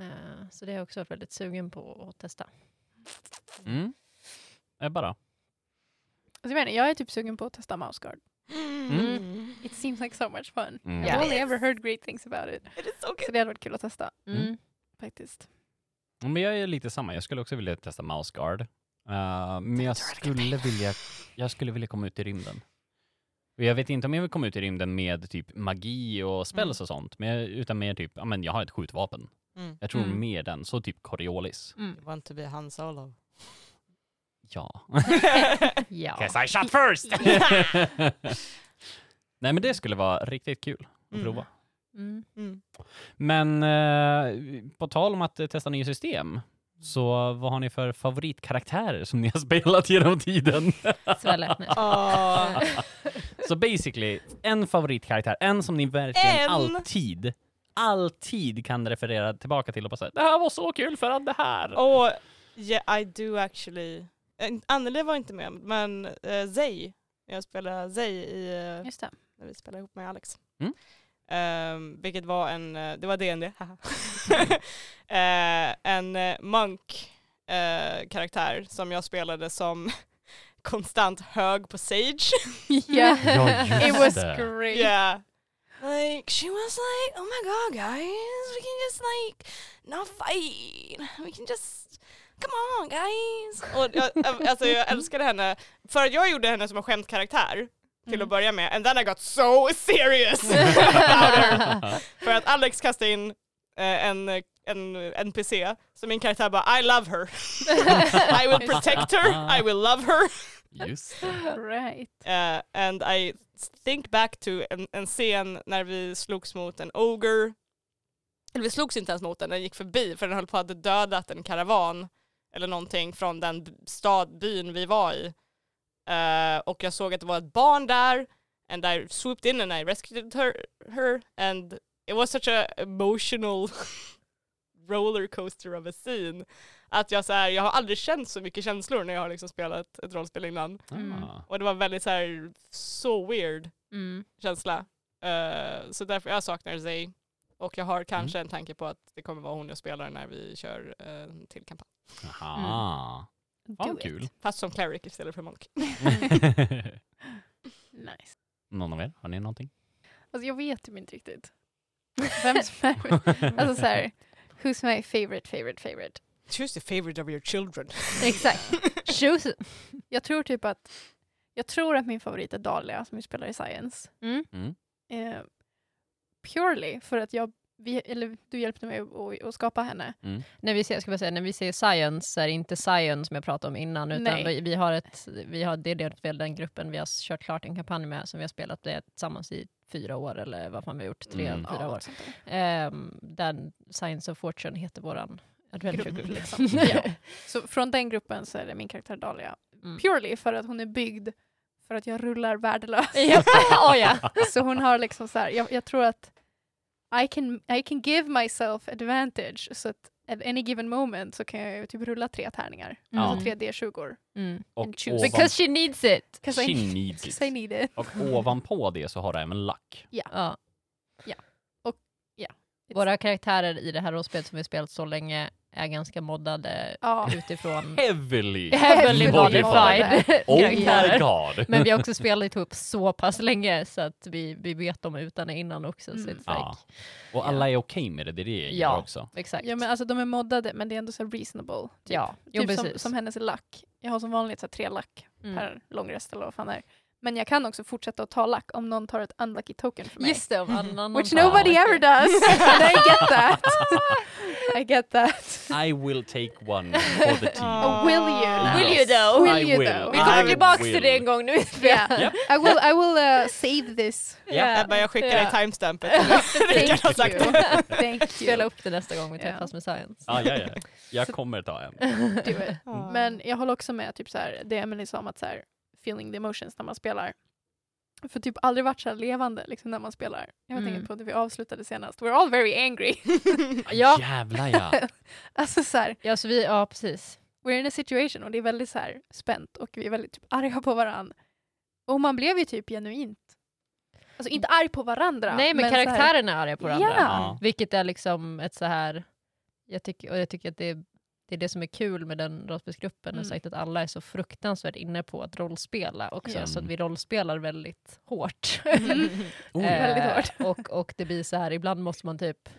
[SPEAKER 3] Eh, så det har jag också varit väldigt sugen på att testa.
[SPEAKER 1] Mm. Ebba då?
[SPEAKER 4] Alltså, jag, menar, jag är typ sugen på att testa Mouse Guard.
[SPEAKER 2] Mm.
[SPEAKER 4] It seems like so much fun.
[SPEAKER 1] Mm.
[SPEAKER 4] I've
[SPEAKER 3] Ja.
[SPEAKER 4] only ever heard great things about it.
[SPEAKER 2] It is so
[SPEAKER 4] Så
[SPEAKER 2] good.
[SPEAKER 4] det hade varit kul att testa
[SPEAKER 3] Mm.
[SPEAKER 1] Mm.
[SPEAKER 4] faktiskt.
[SPEAKER 1] Men jag är lite samma, jag skulle också vilja testa Mouse Guard. Eh, men jag skulle, vilja, jag skulle vilja komma ut i rymden. Och Jag vet inte om jag vill komma ut i rymden med typ magi och spells
[SPEAKER 3] Mm.
[SPEAKER 1] och sånt, men jag, utan mer typ, ja men jag har ett skjutvapen.
[SPEAKER 2] Mm.
[SPEAKER 1] Jag tror
[SPEAKER 3] Mm.
[SPEAKER 1] mer den, så typ Coriolis.
[SPEAKER 3] Mm.
[SPEAKER 2] want to be Han Solo.
[SPEAKER 1] Ja.
[SPEAKER 3] Ja.
[SPEAKER 1] Cause I shot first! Nej men det skulle vara riktigt kul att
[SPEAKER 2] Mm.
[SPEAKER 1] prova.
[SPEAKER 3] Mm.
[SPEAKER 2] Mm.
[SPEAKER 1] Men eh, på tal om att eh, testa nya system, så vad har ni för favoritkaraktärer som ni har spelat genom tiden?
[SPEAKER 3] Svälle. Nej.
[SPEAKER 2] Åh.
[SPEAKER 1] så basically, en favoritkaraktär, en som ni verkligen
[SPEAKER 2] En!
[SPEAKER 1] alltid, alltid kan referera tillbaka till och bara säga det här var så kul för att det här.
[SPEAKER 2] Och yeah, I do actually. Eh, Anneli var inte med, men eh, Zay. Jag spelade Zay i, eh,
[SPEAKER 4] Just det.
[SPEAKER 2] när vi spelade ihop med Alex.
[SPEAKER 1] Mm.
[SPEAKER 2] Ehm, vilket var en, eh, det var DND, haha. Eh, en eh, monk eh, karaktär som jag spelade som konstant hög på Sage.
[SPEAKER 4] Yeah.
[SPEAKER 1] Ja, just
[SPEAKER 4] It was
[SPEAKER 1] det.
[SPEAKER 4] great.
[SPEAKER 2] yeah. Like she was like, oh my god, guys, we can just like not fight. We can just come on guys. Och jag, jag- alltså jag älskade henne för att jag gjorde henne som en skämtkaraktär till att börja med and then I got so serious about her. För att Alex kastade in eh, en, en NPC så min karaktär bara I love her. I will protect her, I will love her.
[SPEAKER 1] Just det.
[SPEAKER 4] Right.
[SPEAKER 2] Eh, and I think back to en, en scen när vi slogs mot en ogre. Eller vi slogs inte ens mot den, den gick förbi för den höll på att ha dödat en karavan eller någonting från den b- stad, byn vi var i. Eh, och jag såg att det var ett barn där and I swooped in and I rescued her, her and it was such a emotional rollercoaster of a scene. Att jag så här, jag har aldrig känt så mycket känslor när jag har liksom spelat ett rollspel innan.
[SPEAKER 4] Mm.
[SPEAKER 1] Ah.
[SPEAKER 2] Och det var väldigt så här, så weird
[SPEAKER 4] Mm.
[SPEAKER 2] känsla. Eh, så därför jag saknar Zay. Och jag har kanske en tanke på att det kommer vara hon jag spelar när vi kör eh, till kampanj.
[SPEAKER 1] Aha. Fan,
[SPEAKER 4] Do it.
[SPEAKER 1] kul.
[SPEAKER 2] Fast som cleric istället för monk.
[SPEAKER 4] Nice.
[SPEAKER 1] Mm. Någon av er, har ni någonting?
[SPEAKER 4] Alltså jag vet ju inte riktigt. Vem som är... Alltså så här, who's my favorite, favorite, favorite?
[SPEAKER 2] Choose the favorite of your children.
[SPEAKER 4] Exakt. Choose. Jag tror typ att... Jag tror att min favorit är Dahlia som vi spelar i Science.
[SPEAKER 3] Mm.
[SPEAKER 1] Mm.
[SPEAKER 4] Eh, purely för att jag... Vi, eller du hjälpte mig att- att att skapa henne.
[SPEAKER 1] Mm.
[SPEAKER 3] När vi ser, ska vi säga, när vi ser science så är det inte science som jag pratade om innan, utan
[SPEAKER 4] Nej.
[SPEAKER 3] vi, vi har ett, vi har, det är det, väl den gruppen vi har kört klart en kampanj med, som vi har spelat det tillsammans i fyra år, eller vad fan vi har gjort, tre,
[SPEAKER 1] Mm.
[SPEAKER 3] fyra år.
[SPEAKER 4] något sånt där.
[SPEAKER 3] Ehm, den Science of Fortune heter våran adventure
[SPEAKER 4] Grupp,
[SPEAKER 3] group.
[SPEAKER 4] liksom. Ja. Så från den gruppen så är det min karaktär Dahlia.
[SPEAKER 3] Mm.
[SPEAKER 4] Purely för att hon är byggd för att jag rullar värdelös.
[SPEAKER 3] Japp. Åh, ja.
[SPEAKER 4] Så hon har liksom så här, jag, jag tror att I can, I can give myself advantage så att at any given moment så kan jag ju typ rulla tre tärningar.
[SPEAKER 1] Ja.
[SPEAKER 4] Alltså tre D20.
[SPEAKER 3] Mm.
[SPEAKER 1] Och
[SPEAKER 4] And choose.
[SPEAKER 1] ovan...
[SPEAKER 3] Because she needs it!
[SPEAKER 4] 'Cause I-
[SPEAKER 1] She needs
[SPEAKER 4] 'cause I
[SPEAKER 1] it.
[SPEAKER 4] need it.
[SPEAKER 1] Och ovanpå det så har du även lack.
[SPEAKER 3] Ja.
[SPEAKER 4] It's-
[SPEAKER 3] Våra karaktärer i det här rollspelet som vi spelat så länge är ganska moddade
[SPEAKER 4] Ja.
[SPEAKER 3] utifrån
[SPEAKER 1] Heavily!
[SPEAKER 3] heavily
[SPEAKER 1] Heavily
[SPEAKER 3] modified
[SPEAKER 1] Oh
[SPEAKER 3] karaktärer.
[SPEAKER 1] my god!
[SPEAKER 3] Men vi har också spelat ihop så pass länge så att vi, vi vet dem utan och innan också. Så
[SPEAKER 4] Mm.
[SPEAKER 3] it's
[SPEAKER 1] Ja.
[SPEAKER 3] like,
[SPEAKER 1] Och alla är okej med det, det är det jag
[SPEAKER 3] Ja.
[SPEAKER 1] gillar också.
[SPEAKER 3] Exakt.
[SPEAKER 4] Ja men alltså de är moddade men det är ändå så här reasonable. Typ,
[SPEAKER 3] Ja, jo,
[SPEAKER 4] typ som,
[SPEAKER 3] precis.
[SPEAKER 4] som hennes lack. Jag har som vanligt så här tre lack
[SPEAKER 3] Mm.
[SPEAKER 4] per långrest eller vad fan det är. Men jag kan också fortsätta att ta lack om någon tar ett unlucky token från mig. Mm.
[SPEAKER 3] Just det, om annan
[SPEAKER 4] Which
[SPEAKER 1] Ja.
[SPEAKER 4] nobody ever does. And I get that. I get that.
[SPEAKER 1] I will take one for the team.
[SPEAKER 4] Oh, will you?
[SPEAKER 1] Will
[SPEAKER 3] you though?
[SPEAKER 4] Will
[SPEAKER 1] I
[SPEAKER 4] you
[SPEAKER 1] will.
[SPEAKER 4] though?
[SPEAKER 1] Vi kommer
[SPEAKER 3] tillbaks
[SPEAKER 1] till det en
[SPEAKER 3] gång nu.
[SPEAKER 4] Yeah. I will, I will uh, save this.
[SPEAKER 1] Ja.
[SPEAKER 2] Eh, Jag bara, jag skickar
[SPEAKER 3] Ja.
[SPEAKER 2] dig timestampet. Rickard har sagt
[SPEAKER 4] you.
[SPEAKER 2] det.
[SPEAKER 4] Thank
[SPEAKER 3] Spela
[SPEAKER 4] you.
[SPEAKER 3] upp det nästa gång vi
[SPEAKER 4] Ja.
[SPEAKER 3] träffas med Science.
[SPEAKER 1] Ah, ja, ja. Jag kommer ta
[SPEAKER 3] Mm,
[SPEAKER 1] en.
[SPEAKER 4] Do it. Men jag håller också med typ så här, det Emily sa om att så här, feeling the emotions när man spelar. För typ aldrig varit så här levande liksom, när man spelar. Jag
[SPEAKER 3] Mm.
[SPEAKER 4] tänker på det vi avslutade senast. We're all very angry.
[SPEAKER 3] Ja.
[SPEAKER 1] Jävlar ja!
[SPEAKER 4] alltså så här,
[SPEAKER 3] Ja, så vi, ja precis.
[SPEAKER 4] we're in a situation och det är väldigt så här spänt och vi är väldigt typ arga på varandra. Och man blev ju typ genuint. Alltså inte arg på varandra.
[SPEAKER 3] Nej men,
[SPEAKER 4] så här-
[SPEAKER 3] karaktärerna är arga på varandra.
[SPEAKER 4] Ja.
[SPEAKER 1] Ja.
[SPEAKER 3] Vilket är liksom ett så här, jag tycker, och jag tycker att det är, det är det som är kul med den rollspelsgruppen,
[SPEAKER 4] Mm.
[SPEAKER 3] och sagt att alla är så fruktansvärt inne på att rollspela också,
[SPEAKER 1] Ja.
[SPEAKER 3] så att vi rollspelar väldigt hårt.
[SPEAKER 4] mm.
[SPEAKER 1] Oh,
[SPEAKER 3] Eh,
[SPEAKER 1] ja.
[SPEAKER 4] Väldigt hårt.
[SPEAKER 3] Och, och det blir så här, ibland måste man typ,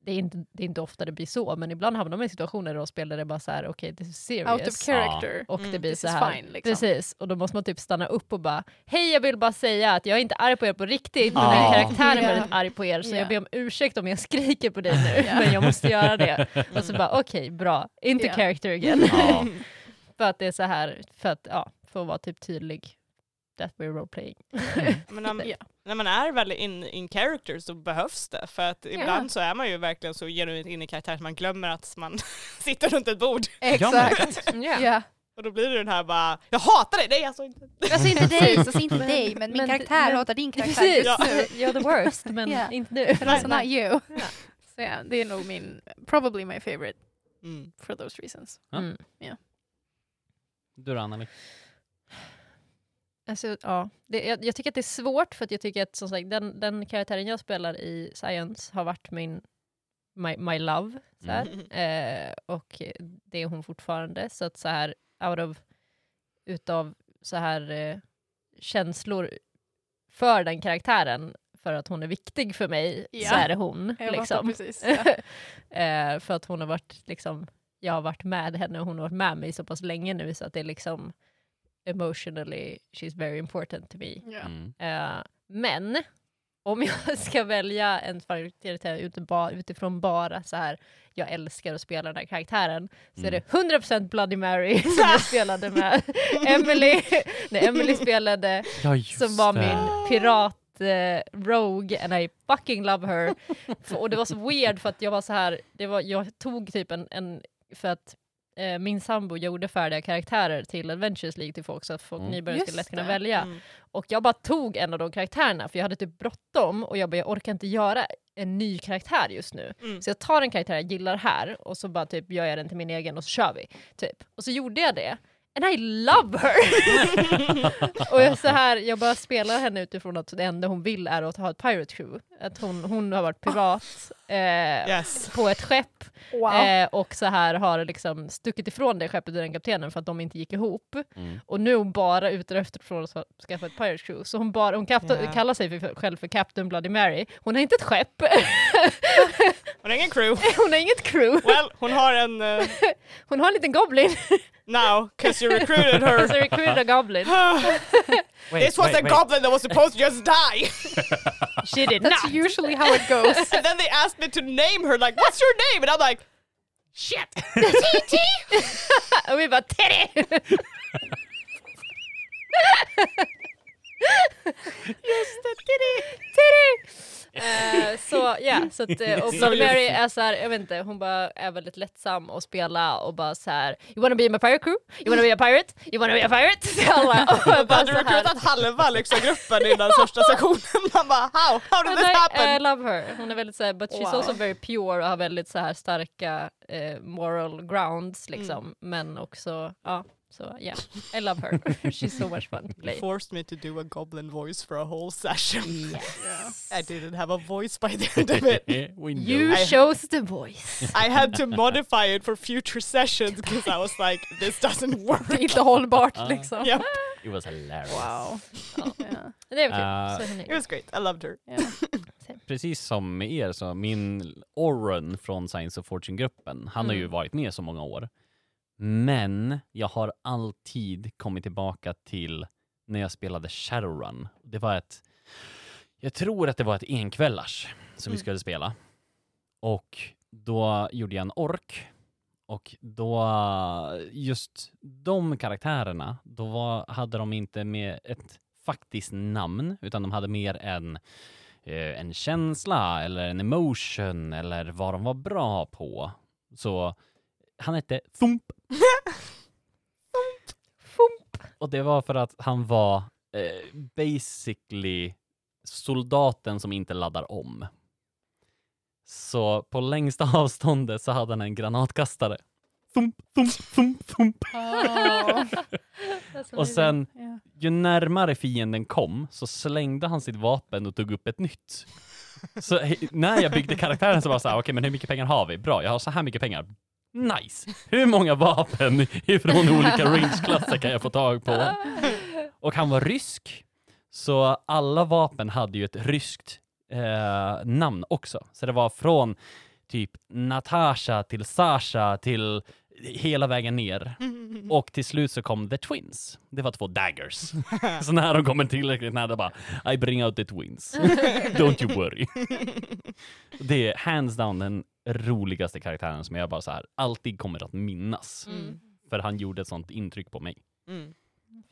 [SPEAKER 3] det är, inte, det är inte ofta det blir så, men ibland hamnar man i situationer i rollspel där det är bara så här, okej this is serious.
[SPEAKER 4] Out of character.
[SPEAKER 3] och det
[SPEAKER 2] Mm,
[SPEAKER 3] blir
[SPEAKER 4] this
[SPEAKER 3] så
[SPEAKER 4] is
[SPEAKER 3] här,
[SPEAKER 4] fine, liksom.
[SPEAKER 3] precis, och då måste man typ stanna upp och bara, hej jag vill bara säga att jag är inte arg på er på riktigt, men den
[SPEAKER 1] Ja.
[SPEAKER 3] här karaktären
[SPEAKER 4] Ja.
[SPEAKER 3] är väldigt arg på er, så
[SPEAKER 4] Ja.
[SPEAKER 3] jag ber om ursäkt om jag skriker på dig nu, men jag måste göra det. Och så bara, okej bra, inte
[SPEAKER 4] Ja.
[SPEAKER 3] character again.
[SPEAKER 1] Ja.
[SPEAKER 3] för att det är så här, för att, ja, för att vara typ tydlig, that we're role playing.
[SPEAKER 2] Men när,
[SPEAKER 4] Ja.
[SPEAKER 2] när man är väldigt in, in character så behövs det. För att ibland så är man ju verkligen så genuint in i karaktär att man glömmer att man sitter runt ett bord.
[SPEAKER 4] Exakt.
[SPEAKER 3] Yeah.
[SPEAKER 4] Ja.
[SPEAKER 2] Och då blir det den här bara, jag hatar dig, nej alltså inte.
[SPEAKER 5] Alltså inte dig,
[SPEAKER 4] Precis.
[SPEAKER 5] alltså inte dig, men min
[SPEAKER 3] men-
[SPEAKER 5] karaktär
[SPEAKER 3] men-
[SPEAKER 5] hatar din karaktär.
[SPEAKER 3] Precis,
[SPEAKER 2] Ja.
[SPEAKER 3] you're the worst, men
[SPEAKER 4] Ja.
[SPEAKER 3] inte nu.
[SPEAKER 4] And also Alltså, not you. Så ja, det är nog min, probably my favorite
[SPEAKER 2] Mm.
[SPEAKER 4] for those reasons.
[SPEAKER 3] Mm.
[SPEAKER 1] Du då Anneli?
[SPEAKER 3] Alltså, ja. det, jag, jag tycker att det är svårt, för att jag tycker att som sagt, den, den karaktären jag spelar i Science har varit min my, my love, så
[SPEAKER 2] Mm.
[SPEAKER 3] här. Eh, och det är hon fortfarande. Så att så här, out of utav så här eh, känslor för den karaktären för att hon är viktig för mig
[SPEAKER 4] Ja.
[SPEAKER 3] så är det hon.
[SPEAKER 4] Jag fattar
[SPEAKER 3] liksom.
[SPEAKER 4] precis. Ja.
[SPEAKER 3] eh, för att hon har varit liksom, jag har varit med henne och hon har varit med mig så pass länge nu så att det är liksom emotionally she's very important to me.
[SPEAKER 4] Ja.
[SPEAKER 1] Mm.
[SPEAKER 3] Eh, men om jag ska välja en karaktär ut- ba- utifrån bara så här jag älskar att spela den här karaktären så är
[SPEAKER 1] Mm.
[SPEAKER 3] det 100% Bloody Mary som jag spelade med Emily. När Emily spelade
[SPEAKER 1] Ja, just
[SPEAKER 3] som var
[SPEAKER 1] det.
[SPEAKER 3] min pirat eh, Rogue and I fucking love her. För, och det var så weird för att jag var så här, det var, jag tog typ en, en för att eh, min sambo gjorde färdiga karaktärer till Adventures League till folk så att folk
[SPEAKER 1] Mm.
[SPEAKER 3] nybörjare
[SPEAKER 4] Just
[SPEAKER 3] skulle lätt kunna
[SPEAKER 4] det.
[SPEAKER 3] välja.
[SPEAKER 2] Mm.
[SPEAKER 3] Och jag bara tog en av de karaktärerna för jag hade typ bråttom och jag bara jag orkar inte göra en ny karaktär just nu.
[SPEAKER 2] Mm.
[SPEAKER 3] Så jag tar en karaktär jag gillar här och så bara typ gör jag den till min egen och så kör vi. Typ. Och så gjorde jag det. And I love her! och jag, så här, jag bara spelar henne utifrån att det enda hon vill är att ha ett pirate crew. Att hon, hon har varit pirat eh,
[SPEAKER 2] Yes.
[SPEAKER 3] på ett skepp
[SPEAKER 4] Wow.
[SPEAKER 3] eh, och så här har liksom stuckit ifrån det skeppet och den kaptenen för att de inte gick ihop.
[SPEAKER 1] Mm.
[SPEAKER 3] Och nu är hon bara ute efter från att skaffa ett pirate crew. Så hon, bara, hon kapta,
[SPEAKER 2] Ja.
[SPEAKER 3] kallar sig för, själv för Captain Bloody Mary. Hon har inte ett skepp,
[SPEAKER 2] Hon har ingen crew.
[SPEAKER 3] hon har inget crew.
[SPEAKER 2] Well, hon har en eh,
[SPEAKER 3] Hon har en liten goblin,
[SPEAKER 2] now, cause you recruited her.
[SPEAKER 3] alltså recruited a goblin.
[SPEAKER 1] Wait,
[SPEAKER 2] This was
[SPEAKER 1] wait,
[SPEAKER 2] a
[SPEAKER 1] wait.
[SPEAKER 2] goblin that was supposed to just die.
[SPEAKER 3] She did
[SPEAKER 4] That's
[SPEAKER 3] not!
[SPEAKER 4] usually how it goes.
[SPEAKER 2] And then they asked me to name her, like, what's your name? And I'm like, shit. TT?
[SPEAKER 3] Och vi bara Teddy! Just det, Teddy! Teddy! Eh, så ja, så att eh, och Bloody Mary är så här, jag vet inte, hon bara är väldigt lättsam att spela och bara så här You wanna be my pirate crew? You wanna be a pirate? You wanna be a pirate? Så alla, och jag bara
[SPEAKER 2] Hade
[SPEAKER 3] så här,
[SPEAKER 2] recruitat halva liksom, gruppen innan första sektionen. Man bara, how? How did
[SPEAKER 3] And
[SPEAKER 2] this
[SPEAKER 3] I, I
[SPEAKER 2] happen?
[SPEAKER 3] love her. Hon är väldigt såhär, but she's
[SPEAKER 4] Wow.
[SPEAKER 3] also very pure och har väldigt så här starka eh, moral grounds liksom. Men också, ja, så yeah, I love her. she's so much fun to play.
[SPEAKER 2] forced me to do a goblin voice for a whole session.
[SPEAKER 3] Yes.
[SPEAKER 2] I didn't have a voice by the end of it.
[SPEAKER 1] Eh, we know.
[SPEAKER 3] You
[SPEAKER 2] I-
[SPEAKER 3] chose the voice.
[SPEAKER 2] I had to modify it for future sessions because I was like, this doesn't
[SPEAKER 4] Det är
[SPEAKER 2] work.
[SPEAKER 4] inte hållbart
[SPEAKER 1] Ah.
[SPEAKER 4] liksom.
[SPEAKER 2] Yep.
[SPEAKER 1] It was hilarious.
[SPEAKER 4] Wow.
[SPEAKER 3] Ja.
[SPEAKER 4] Ja.
[SPEAKER 3] Det var
[SPEAKER 1] Eh,
[SPEAKER 3] kul. Så hon
[SPEAKER 2] It
[SPEAKER 3] är-
[SPEAKER 2] was great. I loved her.
[SPEAKER 4] Ja.
[SPEAKER 1] Precis som med er, så min Oren från Science of Fortune-gruppen, han har ju
[SPEAKER 3] Mm.
[SPEAKER 1] varit med så många år. Men jag har alltid kommit tillbaka till när jag spelade Shadowrun. Det var ett... Jag tror att det var ett enkvällars som vi
[SPEAKER 2] Mm.
[SPEAKER 1] skulle spela. Och då gjorde jag en ork. Och då, just de karaktärerna, då var, hade de inte med ett faktiskt namn, utan de hade mer en, eh, en känsla eller en emotion eller vad de var bra på. Så han hette Thump.
[SPEAKER 3] Fump.
[SPEAKER 1] Och det var för att han var eh, basically soldaten som inte laddar om. Så på längsta avståndet så hade han en granatkastare. Thump, thump, thump, thump.
[SPEAKER 4] Oh.
[SPEAKER 3] That's
[SPEAKER 1] Och
[SPEAKER 3] amazing.
[SPEAKER 1] sen
[SPEAKER 4] Ja.
[SPEAKER 1] ju närmare fienden kom så slängde han sitt vapen och tog upp ett nytt. Så he- när jag byggde karaktären så var jag så här, okej men hur mycket pengar har vi? Bra, jag har så här mycket pengar. Nice! Hur många vapen ifrån olika range-klasser kan jag få tag
[SPEAKER 3] Ah.
[SPEAKER 1] på? Och han var rysk, så alla vapen hade ju ett ryskt eh, namn också. Så det var från typ Natasha till Sasha till hela vägen ner.
[SPEAKER 4] Mm.
[SPEAKER 1] Och till slut så kom The Twins. Det var två daggers. så när de kommer tillräckligt nära bara I bring out the twins. Don't you worry. det är hands down den roligaste karaktären som jag bara så här alltid kommer att minnas.
[SPEAKER 3] Mm.
[SPEAKER 1] För han gjorde ett sånt intryck på mig.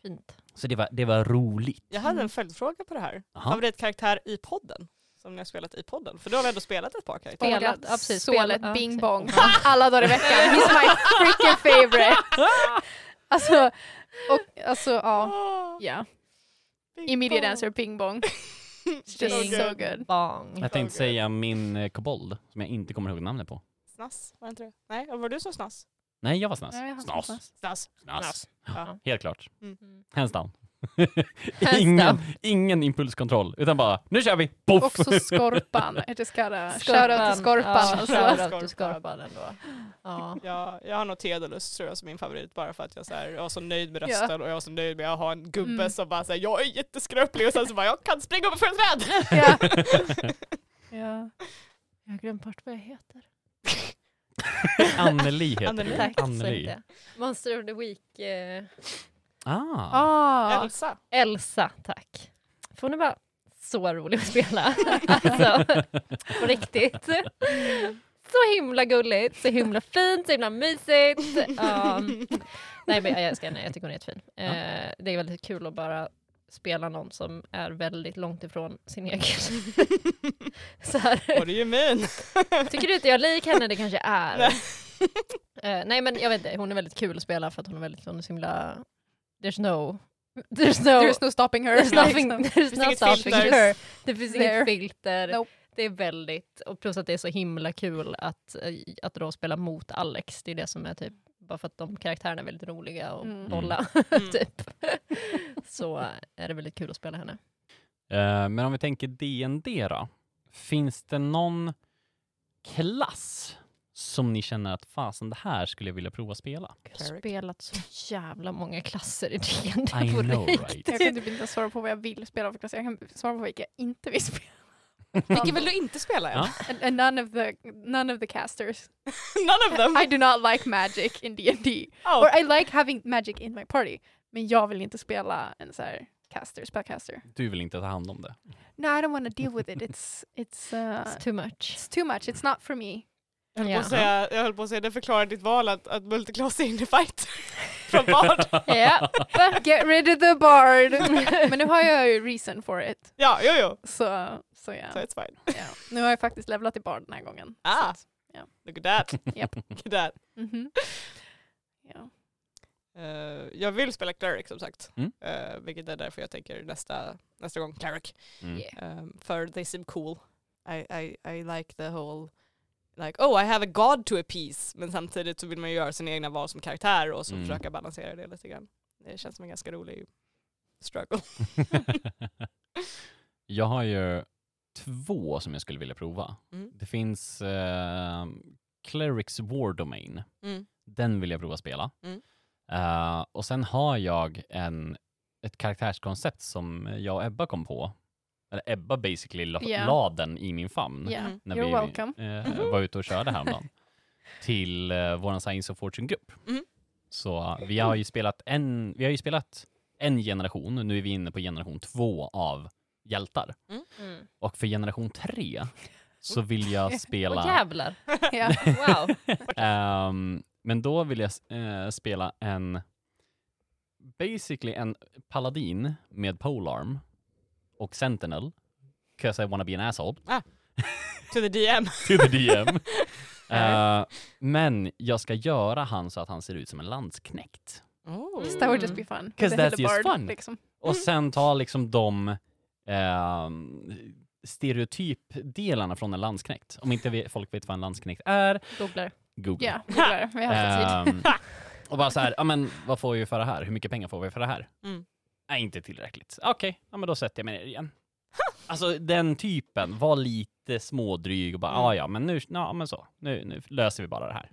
[SPEAKER 3] Fint.
[SPEAKER 1] Så det var, det var roligt.
[SPEAKER 2] Mm. Jag hade en följdfråga på det här.
[SPEAKER 1] Aha.
[SPEAKER 2] Favoritkaraktär i podden? Som ni har spelat i podden? För du har vi ändå spelat ett par karaktärer.
[SPEAKER 3] Spelat, ja,
[SPEAKER 4] Spelat,
[SPEAKER 3] precis,
[SPEAKER 4] så
[SPEAKER 3] spelat,
[SPEAKER 4] lätt,
[SPEAKER 3] ja,
[SPEAKER 4] bing
[SPEAKER 3] exakt.
[SPEAKER 4] bong. Alla dagar i veckan. He's my freaking favorite. Alltså, och, alltså ja.
[SPEAKER 2] Ah,
[SPEAKER 4] ja.
[SPEAKER 2] Bing
[SPEAKER 4] Immediate
[SPEAKER 2] bong.
[SPEAKER 4] answer, ping bong. It's just
[SPEAKER 2] Bing
[SPEAKER 4] so good.
[SPEAKER 3] Bang.
[SPEAKER 1] Jag tänkte
[SPEAKER 2] Okej.
[SPEAKER 1] säga min eh, kobold, som jag inte kommer ihåg namnet på.
[SPEAKER 2] Snass, var det inte det? Nej, var det du som snass?
[SPEAKER 1] Nej, jag var snass.
[SPEAKER 4] Ja, jag har
[SPEAKER 1] Snas.
[SPEAKER 4] snass.
[SPEAKER 1] Snas.
[SPEAKER 2] Snass. Snass. Ja.
[SPEAKER 1] Helt klart.
[SPEAKER 2] Mm.
[SPEAKER 1] Hands down. ingen, ingen impulskontroll, utan bara nu kör vi! Poff!
[SPEAKER 4] Också Skorpan. Det ska det.
[SPEAKER 3] Skorpan.
[SPEAKER 4] Shoutout till Skorpan.
[SPEAKER 3] Ja,
[SPEAKER 4] alltså.
[SPEAKER 3] shoutout till Skorpan ändå. Ja.
[SPEAKER 2] Jag, jag har nog Theodolus tror jag som min favorit bara för att jag, så här, jag var så nöjd med
[SPEAKER 4] Ja.
[SPEAKER 2] rösten och jag var så nöjd med att ha en gubbe
[SPEAKER 4] Mm.
[SPEAKER 2] som bara säger jag är jätteskröplig och sen så bara jag kan springa upp för ett träd.
[SPEAKER 4] Ja. ja.
[SPEAKER 3] Jag har glömt bort vad jag heter.
[SPEAKER 1] Anneli heter
[SPEAKER 2] Anneli.
[SPEAKER 1] det.
[SPEAKER 3] Tack så
[SPEAKER 1] Anneli.
[SPEAKER 3] mycket. Monster of the Week. Eh,
[SPEAKER 1] Ah.
[SPEAKER 4] Ah.
[SPEAKER 2] Elsa.
[SPEAKER 3] Elsa, tack. För hon är bara så rolig att spela. alltså, på riktigt. Så himla gulligt, så himla fint, så himla mysigt. Ja. nej men jag älskar henne, jag tycker hon är jättefin. Eh, det är väldigt kul att bara spela någon som är väldigt långt ifrån sin egen. så här.
[SPEAKER 2] Och det är ju min.
[SPEAKER 3] Tycker du inte jag är lik henne? Det kanske jag är. Eh, nej men jag vet inte, hon är väldigt kul att spela för att hon är väldigt, hon är så himla... There's no... There's no...
[SPEAKER 4] There's no stopping her.
[SPEAKER 3] There's nothing,
[SPEAKER 4] Liksom.
[SPEAKER 3] there's
[SPEAKER 2] inget
[SPEAKER 3] no stopping
[SPEAKER 2] filter.
[SPEAKER 3] her. Det finns
[SPEAKER 4] There.
[SPEAKER 3] inget filter.
[SPEAKER 4] Nope.
[SPEAKER 3] Det är väldigt, och plus att det är så himla kul att, eh, att då spela mot Alex. Det är det som är typ, bara för att de karaktärerna är väldigt roliga och
[SPEAKER 4] Mm.
[SPEAKER 3] bolla.
[SPEAKER 2] Mm.
[SPEAKER 3] typ. så är det väldigt kul att spela henne.
[SPEAKER 1] Eh, men om vi tänker D&D då. Finns det någon klass som ni känner att fasen, det här skulle jag vilja prova spela?
[SPEAKER 3] Jag har spelat så jävla många klasser i D&D
[SPEAKER 1] I
[SPEAKER 3] på
[SPEAKER 1] know,
[SPEAKER 3] riktigt.
[SPEAKER 1] right?
[SPEAKER 4] Jag kan typ inte svara på vad jag vill spela för klass. Jag kan svara på vilka jag inte vill spela.
[SPEAKER 2] Vilken vill du inte spela? Ja.
[SPEAKER 1] Ja.
[SPEAKER 4] And, and none, of the, none of the casters.
[SPEAKER 2] None of them.
[SPEAKER 4] I do not like magic in D&D.
[SPEAKER 2] Oh.
[SPEAKER 4] Or I like having magic in my party. Men jag vill inte spela en så här caster, spellcaster.
[SPEAKER 1] Du vill inte ta hand om det?
[SPEAKER 4] No, I don't want to deal with it. It's, it's, uh,
[SPEAKER 3] It's too much.
[SPEAKER 4] it's too much. It's not for me.
[SPEAKER 2] Jag, höll på
[SPEAKER 3] Ja.
[SPEAKER 2] att säga, jag höll på att säga, det förklarar ditt val att, att multiclass är innefight. Från vad?
[SPEAKER 3] Ja.
[SPEAKER 4] Get rid of the bard. Men nu har jag ju reason for it.
[SPEAKER 2] Ja, jo, jo.
[SPEAKER 4] Så, så
[SPEAKER 2] So
[SPEAKER 4] ja.
[SPEAKER 2] it's fine.
[SPEAKER 4] ja. Nu har jag faktiskt levlat i bard den här gången.
[SPEAKER 2] Ah.
[SPEAKER 4] Så att-
[SPEAKER 2] Look at that.
[SPEAKER 4] Japp.
[SPEAKER 2] Look at that.
[SPEAKER 4] mhm. Ja.
[SPEAKER 2] Eh, jag vill spela cleric som sagt.
[SPEAKER 1] Mm.
[SPEAKER 2] Eh, vilket är därför jag tänker nästa, nästa gång cleric.
[SPEAKER 1] Mm.
[SPEAKER 3] Yeah.
[SPEAKER 2] um, för they seem cool. I, I, I like the whole like oh I have a god to appease men samtidigt så vill man ju göra sina egna val som karaktär och så
[SPEAKER 1] Mm.
[SPEAKER 2] försöka balansera det lite grann. Det känns som en ganska rolig struggle.
[SPEAKER 1] jag har ju två som jag skulle vilja prova.
[SPEAKER 2] Mm.
[SPEAKER 1] Det finns eh, Clerics War Domain. Den vill jag prova spela.
[SPEAKER 2] Mm.
[SPEAKER 1] Eh, och sen har jag en, ett karaktärskoncept som jag och Ebba kom på. Eller Ebba basically la,
[SPEAKER 4] Ja.
[SPEAKER 1] la den i min famn
[SPEAKER 4] Yeah.
[SPEAKER 2] Mhm.
[SPEAKER 1] Mm-hmm. när
[SPEAKER 4] You're
[SPEAKER 1] vi
[SPEAKER 4] welcome. Mm-hmm.
[SPEAKER 1] eh, var ute och körde häromdagen till eh, vår Science of Fortune-grupp.
[SPEAKER 4] Mm-hmm.
[SPEAKER 2] Mhm.
[SPEAKER 1] Så eh, vi har, ju spelat en, vi har ju spelat en generation och nu är vi inne på generation två av hjältar.
[SPEAKER 3] Mm.
[SPEAKER 1] Och för generation tre så vill jag
[SPEAKER 3] Och
[SPEAKER 1] spela...
[SPEAKER 3] jävlar,
[SPEAKER 4] Ja.
[SPEAKER 3] wow.
[SPEAKER 1] Ehm, men då vill jag eh, spela en, basically en paladin med polearm och sentinel. Cause I wanna be an asshole
[SPEAKER 2] To the DM.
[SPEAKER 1] to the DM. Eh, men jag ska göra han så att han ser ut som en landsknekt.
[SPEAKER 2] Oh.
[SPEAKER 4] That would just be fun.
[SPEAKER 1] 'Cause
[SPEAKER 4] The
[SPEAKER 1] that's just
[SPEAKER 4] Hellebard,
[SPEAKER 1] fun.
[SPEAKER 4] Liksom.
[SPEAKER 1] Och sen ta liksom de ehm, stereotypdelarna från en landsknekt. Om inte vi, folk vet vad en landsknekt är,
[SPEAKER 3] Googlar.
[SPEAKER 1] googla.
[SPEAKER 4] Ja, googlar. vi har haft tid.
[SPEAKER 1] Ehm, och bara så här, ja men vad får vi för det här? Hur mycket pengar får vi för det här?
[SPEAKER 2] Mm.
[SPEAKER 1] Nej, inte tillräckligt. Okej, ja, men då sätter jag mig ner igen. Alltså den typen, var lite smådryg och bara, "Ah,
[SPEAKER 2] Mm.
[SPEAKER 1] ja ja, men nu, ja, men så. Nu, nu löser vi bara det här.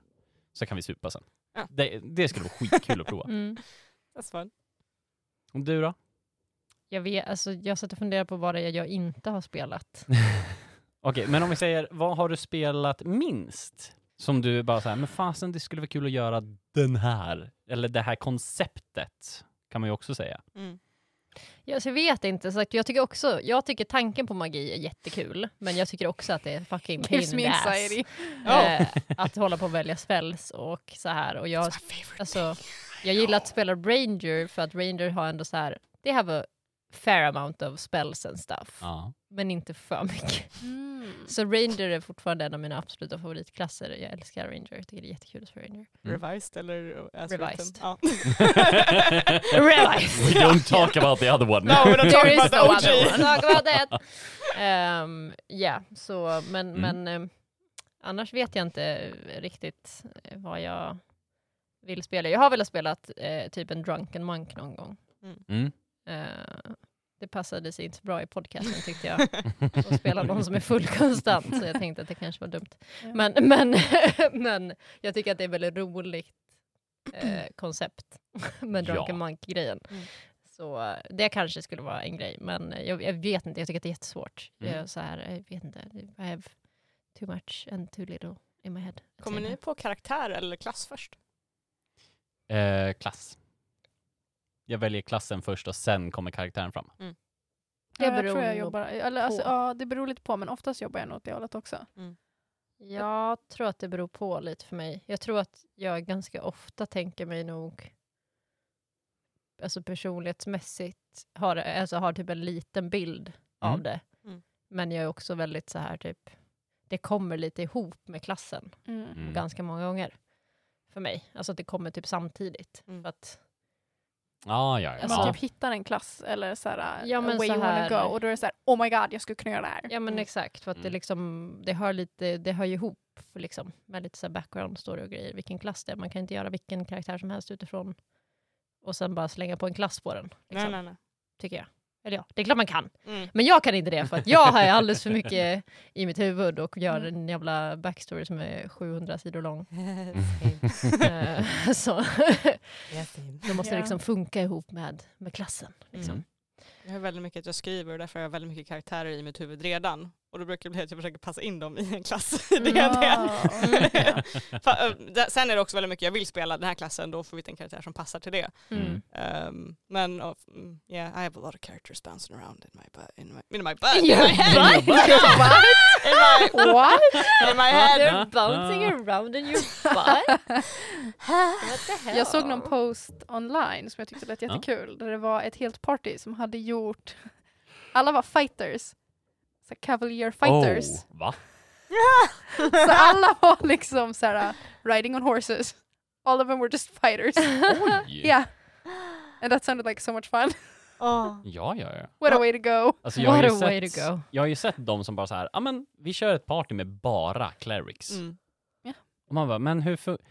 [SPEAKER 1] Så kan vi supa sen.
[SPEAKER 2] Ja.
[SPEAKER 1] Det, det skulle vara skitkul att prova.
[SPEAKER 3] Mm.
[SPEAKER 2] That's fun.
[SPEAKER 1] Och du då?
[SPEAKER 3] Jag, vet, alltså, jag satt och funderade på vad det är jag inte har spelat.
[SPEAKER 1] Okej, men om vi säger, vad har du spelat minst? Som du bara så här, men fasen det skulle vara kul att göra den här. Eller det här konceptet, kan man ju också säga.
[SPEAKER 2] Mm.
[SPEAKER 3] Jag, så jag vet inte, så att jag, tycker också, jag tycker tanken på magi är jättekul, men jag tycker också att det är fucking pain
[SPEAKER 4] Gives
[SPEAKER 3] in
[SPEAKER 4] me
[SPEAKER 3] the ass.
[SPEAKER 4] anxiety.
[SPEAKER 2] Oh.
[SPEAKER 3] Eh, att hålla på och välja spells och så här. Och jag,
[SPEAKER 2] That's my favorite
[SPEAKER 3] alltså, jag gillar att spela Ranger för att Ranger har ändå så här, they have a fair amount of spells and stuff,
[SPEAKER 1] Ja.
[SPEAKER 3] men inte för mycket.
[SPEAKER 4] Mm.
[SPEAKER 3] Så Ranger är fortfarande en av mina absoluta favoritklasser. Jag älskar Ranger, jag tycker det är jättekul att spela Ranger.
[SPEAKER 1] Mm.
[SPEAKER 2] Revised eller uh, as written?
[SPEAKER 3] Revised.
[SPEAKER 2] Ja.
[SPEAKER 3] Realized.
[SPEAKER 1] We don't talk about the other one.
[SPEAKER 2] No, we're not
[SPEAKER 3] There
[SPEAKER 2] talking
[SPEAKER 3] is
[SPEAKER 2] about
[SPEAKER 3] no
[SPEAKER 2] the
[SPEAKER 3] other
[SPEAKER 2] OG.
[SPEAKER 3] one. Talk about that. Ehm, ja, så men,
[SPEAKER 1] Mm.
[SPEAKER 3] men ehm, annars vet jag inte riktigt eh, vad jag vill spela. Jag har velat spela eh, typ en drunken monk någon gång.
[SPEAKER 1] Mm.
[SPEAKER 3] Eh, passade sig inte så bra i podcasten tyckte jag. Att spela någon som är full konstant, så jag tänkte att det kanske var dumt.
[SPEAKER 4] Ja.
[SPEAKER 3] Men, men, men jag tycker att det är väldigt roligt eh, koncept med
[SPEAKER 1] Ja.
[SPEAKER 3] Drunken Monkey-grejen.
[SPEAKER 4] Mm.
[SPEAKER 3] Så eh, det kanske skulle vara en grej, men jag, jag vet inte, jag tycker att det är jättesvårt.
[SPEAKER 1] Mm.
[SPEAKER 3] Jag, så här, jag vet inte, I have too much and too little in my head.
[SPEAKER 2] Kommer ni på karaktär eller klass först?
[SPEAKER 1] Eh, klass. Jag väljer klassen först och sen kommer karaktären fram.
[SPEAKER 3] Det
[SPEAKER 4] ja, jag
[SPEAKER 3] beror
[SPEAKER 4] tror jag
[SPEAKER 3] nog
[SPEAKER 4] jobbar, eller, alltså,
[SPEAKER 3] på.
[SPEAKER 4] ja, det beror lite på, men oftast jobbar jag nog åt det hållet också.
[SPEAKER 3] Jag tror att det beror på lite för mig. Jag tror att jag ganska ofta tänker mig nog alltså personlighetsmässigt har, alltså har typ en liten bild av
[SPEAKER 1] Mm.
[SPEAKER 3] det.
[SPEAKER 2] Mm.
[SPEAKER 3] Men jag är också väldigt så här typ det kommer lite ihop med klassen
[SPEAKER 4] Mm.
[SPEAKER 1] Mm.
[SPEAKER 3] ganska många gånger för mig. Alltså att det kommer typ samtidigt.
[SPEAKER 2] Mm.
[SPEAKER 3] För att,
[SPEAKER 1] Ah, ja, ja.
[SPEAKER 4] Man
[SPEAKER 1] ja.
[SPEAKER 4] typ hittar en klass eller så här,
[SPEAKER 3] Ja,
[SPEAKER 4] ja,
[SPEAKER 3] men
[SPEAKER 4] way
[SPEAKER 3] så
[SPEAKER 4] you wanna
[SPEAKER 3] här-
[SPEAKER 4] go och då är det så här, oh my god, jag skulle kunna göra det här.
[SPEAKER 3] ja men
[SPEAKER 2] Mm.
[SPEAKER 3] exakt, för att det
[SPEAKER 1] Mm.
[SPEAKER 3] liksom det hör lite, det hör ju ihop liksom med lite så här background story och grejer, vilken klass det är. Man kan inte göra vilken karaktär som helst utifrån och sen bara slänga på en klass på den. Liksom,
[SPEAKER 2] nej, nej.
[SPEAKER 3] Tycker jag. Eller ja, det är klart man kan.
[SPEAKER 2] Mm.
[SPEAKER 3] Men jag kan inte det för att jag har alldeles för mycket i mitt huvud och gör
[SPEAKER 2] Mm.
[SPEAKER 3] en jävla backstory som är 700 sidor lång.
[SPEAKER 1] Mm.
[SPEAKER 3] Eh, så då måste det
[SPEAKER 4] Ja.
[SPEAKER 3] liksom funka ihop med, med klassen. Liksom.
[SPEAKER 1] Mm.
[SPEAKER 2] Jag har väldigt mycket att jag skriver och därför har jag väldigt mycket karaktärer i mitt huvud redan. Och då brukar det bli att jag försöker passa in dem i en klass. det är det.
[SPEAKER 4] Ja.
[SPEAKER 2] Fa- eh, det- Sen är det också väldigt mycket jag vill spela den här klassen, då får vi hitta en karaktär som passar till det.
[SPEAKER 1] Mm.
[SPEAKER 2] Ehm, men ja, mm, yeah, I have a lot of characters bouncing around in my butt. In my, in my butt! In my
[SPEAKER 3] Your
[SPEAKER 2] head.
[SPEAKER 3] butt? Your
[SPEAKER 2] In my,
[SPEAKER 3] What?
[SPEAKER 2] in my head!
[SPEAKER 3] They're bouncing around in your butt? What the hell?
[SPEAKER 4] Jag såg någon post online som jag tyckte lät jättekul, där det var ett helt party som hade gjort, alla var fighters, så här, cavalier fighters.
[SPEAKER 1] Oh, va?
[SPEAKER 4] Så alla var liksom så här, riding on horses. All of them were just fighters.
[SPEAKER 1] Oj.
[SPEAKER 4] Yeah, and that sounded like so much fun.
[SPEAKER 3] Ah.
[SPEAKER 2] Åh.
[SPEAKER 1] Ja, ja, ja.
[SPEAKER 4] What a way to go.
[SPEAKER 1] Alltså, jag, har
[SPEAKER 3] What
[SPEAKER 1] ju
[SPEAKER 3] a way
[SPEAKER 1] sett,
[SPEAKER 3] to go.
[SPEAKER 1] jag har ju sett de som bara så här, ja men vi kör ett party med bara clerics.
[SPEAKER 2] Mm.
[SPEAKER 1] Och man bara, men hur fun-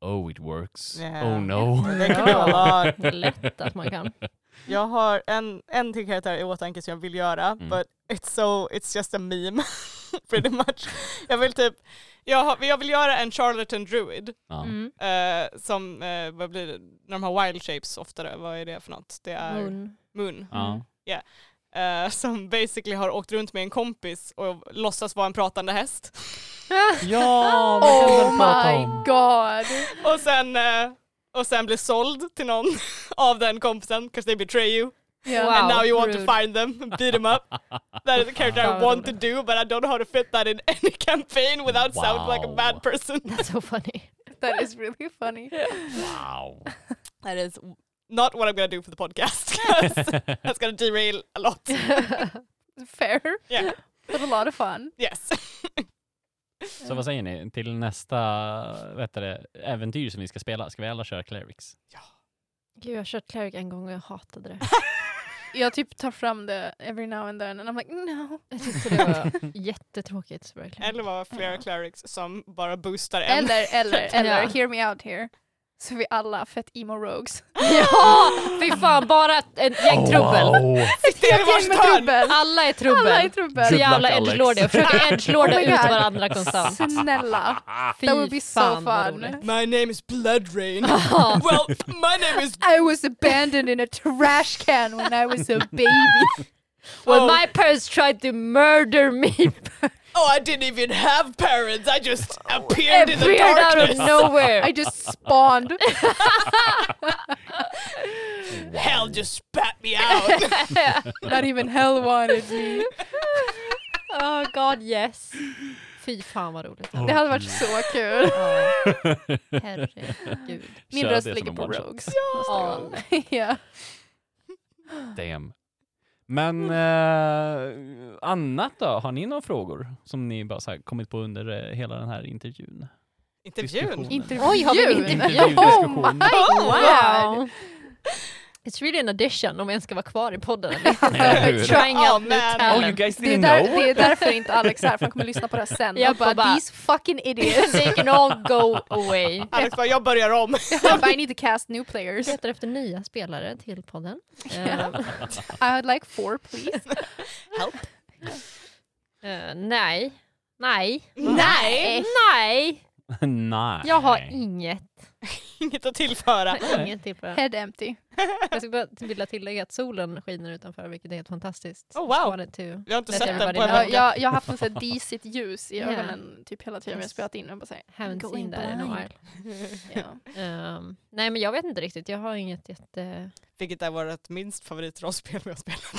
[SPEAKER 1] Oh it works.
[SPEAKER 2] Yeah.
[SPEAKER 1] Oh
[SPEAKER 3] Mm.
[SPEAKER 1] no.
[SPEAKER 2] Det kan jag vara.
[SPEAKER 3] Det är lätt att man kan.
[SPEAKER 2] Jag har en, en till karaktär i åtanke som jag vill göra,
[SPEAKER 1] Mm.
[SPEAKER 2] but it's, so, it's just a meme. Pretty much. Jag vill typ, jag, har, jag vill göra en charlatan druid.
[SPEAKER 1] Ja.
[SPEAKER 3] Mm.
[SPEAKER 2] eh, som, eh, vad blir det, när de har wild shapes oftare, vad är det för något? Det
[SPEAKER 3] Äh.
[SPEAKER 2] är moon.
[SPEAKER 3] Moon.
[SPEAKER 1] Ja.
[SPEAKER 2] eh, som basically har åkt runt med en kompis och låtsas vara en pratande häst.
[SPEAKER 1] ja, vad kan
[SPEAKER 4] Oh
[SPEAKER 1] man prata
[SPEAKER 4] my
[SPEAKER 1] om?
[SPEAKER 4] god.
[SPEAKER 2] Och sen, eh, och sen blir såld till någon av den kompisen, 'cause they betray you.
[SPEAKER 4] Yeah.
[SPEAKER 2] And
[SPEAKER 3] Wow,
[SPEAKER 2] now you want
[SPEAKER 3] rude.
[SPEAKER 2] to find them, and beat them up. That is the character
[SPEAKER 3] Fan,
[SPEAKER 2] I
[SPEAKER 3] vad
[SPEAKER 2] want to
[SPEAKER 3] roligt.
[SPEAKER 2] do, but I don't know how to fit that in any campaign without sounding like a
[SPEAKER 1] Wow.
[SPEAKER 2] bad person.
[SPEAKER 3] That's so funny.
[SPEAKER 4] That is really funny.
[SPEAKER 1] Wow.
[SPEAKER 2] That is not what I'm gonna do for the podcast, 'cause that's gonna derail a lot.
[SPEAKER 4] Fair,
[SPEAKER 2] Yeah,
[SPEAKER 4] but a lot of fun.
[SPEAKER 2] yes.
[SPEAKER 1] Så vad säger ni, till nästa vet du, det, äventyr som vi ska spela, ska vi alla köra clerics?
[SPEAKER 3] Gud, jag har kört Cleric en gång och jag hatade det.
[SPEAKER 4] Jag typ tar fram det every now and then and I'm like no.
[SPEAKER 3] Jag tyckte det var jättetråkigt. så verkligen.
[SPEAKER 2] Eller vara flera
[SPEAKER 4] Ja.
[SPEAKER 2] clerics som bara boostar en.
[SPEAKER 4] Eller, eller, eller,
[SPEAKER 3] Ja.
[SPEAKER 4] hear me out here. Så vi alla fett emo rogues.
[SPEAKER 3] Ja! Fy fan, bara ett ett gäng trubbel.
[SPEAKER 1] Wow.
[SPEAKER 2] Sitter i vars hörn!
[SPEAKER 3] Alla är
[SPEAKER 4] Alla är
[SPEAKER 3] trubbel.
[SPEAKER 4] trubbel.
[SPEAKER 3] Så
[SPEAKER 1] Good
[SPEAKER 3] jävla
[SPEAKER 1] luck, Alex.
[SPEAKER 3] edgelordiga. Jag försöker edgelorda
[SPEAKER 4] Oh my
[SPEAKER 3] ut
[SPEAKER 4] God.
[SPEAKER 3] varandra konstant.
[SPEAKER 4] Snälla.
[SPEAKER 3] Fy
[SPEAKER 4] That would be so
[SPEAKER 3] fan vad
[SPEAKER 4] fun.
[SPEAKER 3] roligt.
[SPEAKER 2] My name is Bloodrain. well, my name is...
[SPEAKER 4] I was abandoned in a trash can when I was a baby.
[SPEAKER 3] When
[SPEAKER 2] Oh.
[SPEAKER 3] my parents tried to murder me
[SPEAKER 2] Oh, I didn't even have parents. I just Oh, appeared in the
[SPEAKER 3] appeared out of
[SPEAKER 2] darkness.
[SPEAKER 3] nowhere.
[SPEAKER 4] I just spawned.
[SPEAKER 2] Hell just spat me out.
[SPEAKER 4] Not even hell wanted me.
[SPEAKER 3] oh god yes. Fy fan vad roligt.
[SPEAKER 4] Det hade varit så kul.
[SPEAKER 3] Herregud.
[SPEAKER 4] Min
[SPEAKER 1] Kör
[SPEAKER 4] röst
[SPEAKER 1] det som
[SPEAKER 4] ligger
[SPEAKER 1] en
[SPEAKER 4] på
[SPEAKER 1] one-shot.
[SPEAKER 4] rogues. nästa
[SPEAKER 3] Oh,
[SPEAKER 4] gång. Ja.
[SPEAKER 1] Damn. Men
[SPEAKER 4] Mm.
[SPEAKER 1] eh, annat då? Har ni några frågor som ni bara så här kommit på under eh, hela den här intervjun?
[SPEAKER 2] Intervjun.
[SPEAKER 1] Diskussionen.
[SPEAKER 4] Intervju.
[SPEAKER 3] Oj, har vi en intervju?
[SPEAKER 4] Oh my
[SPEAKER 1] Intervjudiskussion.
[SPEAKER 4] god.
[SPEAKER 3] It's really an addition om jag ens ska vara kvar i podden.
[SPEAKER 1] Eller hur?
[SPEAKER 3] Trying out
[SPEAKER 2] Oh,
[SPEAKER 3] new
[SPEAKER 2] man.
[SPEAKER 1] Oh, you
[SPEAKER 3] talent.
[SPEAKER 1] guys
[SPEAKER 4] Det är,
[SPEAKER 1] didn't
[SPEAKER 4] där,
[SPEAKER 1] know?
[SPEAKER 4] det är därför inte Alex är här, för han kommer lyssna på det här sen.
[SPEAKER 3] Jag
[SPEAKER 4] Jag bara,
[SPEAKER 3] bara-
[SPEAKER 4] these fucking idiots.
[SPEAKER 3] They can all go away.
[SPEAKER 2] Alex bara, jag börjar om.
[SPEAKER 4] Jag bara, I need to cast new players.
[SPEAKER 3] Letar efter nya spelare till podden. Eh,
[SPEAKER 4] I would like four please.
[SPEAKER 3] eh, nej. Nej.
[SPEAKER 2] Nej.
[SPEAKER 3] Eh, Nej.
[SPEAKER 1] Nej.
[SPEAKER 3] Jag har inget.
[SPEAKER 2] Inget att tillföra.
[SPEAKER 3] Jag har inget till på det.
[SPEAKER 4] Head empty.
[SPEAKER 3] Jag skulle bara vilja tillägga att solen skiner utanför vilket är helt fantastiskt.
[SPEAKER 2] Oh, wow.
[SPEAKER 3] Wanted to-
[SPEAKER 2] Jag har inte
[SPEAKER 3] Let
[SPEAKER 2] sett den på en
[SPEAKER 3] everybody
[SPEAKER 4] Jag,
[SPEAKER 3] know.
[SPEAKER 2] vecka.
[SPEAKER 4] jag, jag har haft en sån här disigt ljus i
[SPEAKER 3] Yeah.
[SPEAKER 4] ögonen typ hela tiden vi har
[SPEAKER 3] Yes.
[SPEAKER 4] spelat in. Och bara så här,
[SPEAKER 3] Haven't seen
[SPEAKER 4] Going
[SPEAKER 3] that in a
[SPEAKER 4] blind.
[SPEAKER 3] while.
[SPEAKER 4] yeah.
[SPEAKER 3] Ehm, nej men jag vet inte riktigt, jag har inget jätte...
[SPEAKER 2] Vilket är vårt minst favoritrollspel vi har spelat.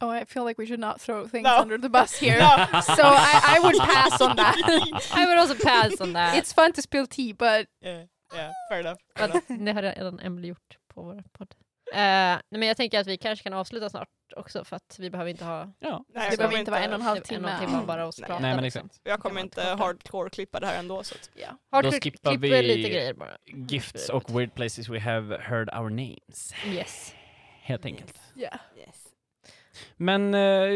[SPEAKER 4] Oh, I feel like we should not throw things
[SPEAKER 2] No.
[SPEAKER 4] under the bus here.
[SPEAKER 2] Ja.
[SPEAKER 4] So I, I would pass on that. alltså-
[SPEAKER 3] I would also pass on that.
[SPEAKER 4] It's fun to spill tea, but
[SPEAKER 2] Yeah, yeah, fair enough. Fair enough.
[SPEAKER 3] But det har redan Emelie gjort på vår podd. Eh, nej, men jag tänker att vi kanske kan avsluta snart också för att vi behöver inte ha
[SPEAKER 1] Ja.
[SPEAKER 2] Nej, jag
[SPEAKER 4] det behöver
[SPEAKER 2] kommer
[SPEAKER 4] inte vara en och en halv
[SPEAKER 3] en och en
[SPEAKER 4] timme.
[SPEAKER 3] timme av bara oss
[SPEAKER 2] Nej.
[SPEAKER 3] prata.
[SPEAKER 1] Nej, men
[SPEAKER 3] liksom.
[SPEAKER 2] Jag
[SPEAKER 3] Det
[SPEAKER 2] kommer
[SPEAKER 3] var
[SPEAKER 2] inte
[SPEAKER 3] inte kortare.
[SPEAKER 2] hardcore-klippa det här ändå. Så att,
[SPEAKER 4] Yeah.
[SPEAKER 3] Hardcore
[SPEAKER 1] skippar
[SPEAKER 3] klipper
[SPEAKER 1] vi-
[SPEAKER 3] lite grejer bara.
[SPEAKER 1] Gifts och weird places we have heard our names.
[SPEAKER 3] Yes.
[SPEAKER 1] Helt enkelt.
[SPEAKER 4] Yeah.
[SPEAKER 1] Men eh,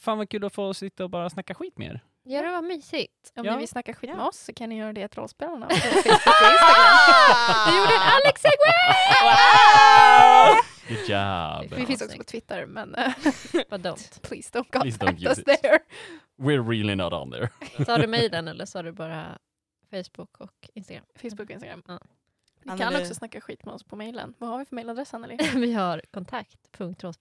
[SPEAKER 1] fan vad kul att få sitta och bara snacka skit med er.
[SPEAKER 3] Ja, det var mysigt.
[SPEAKER 4] Om
[SPEAKER 1] Ja.
[SPEAKER 4] ni vill snacka skit med
[SPEAKER 2] Ja.
[SPEAKER 4] oss så kan ni göra det till rollspelarna på Facebook och Instagram.
[SPEAKER 3] Du gjorde en Alex
[SPEAKER 2] Wow!
[SPEAKER 1] Good job!
[SPEAKER 4] Vi finns också på Twitter, men eh,
[SPEAKER 3] But don't.
[SPEAKER 4] please don't
[SPEAKER 1] Please
[SPEAKER 4] contact
[SPEAKER 1] don't use
[SPEAKER 4] us
[SPEAKER 1] it.
[SPEAKER 4] there.
[SPEAKER 1] We're really not on there.
[SPEAKER 3] Sa du mejlen eller sa du bara Facebook och Instagram?
[SPEAKER 4] Facebook och Instagram.
[SPEAKER 3] Ja.
[SPEAKER 4] Ni kan
[SPEAKER 2] Anneli.
[SPEAKER 4] också snacka skit med oss på mejlen. Vad har vi för mejladress, Anneli?
[SPEAKER 3] vi har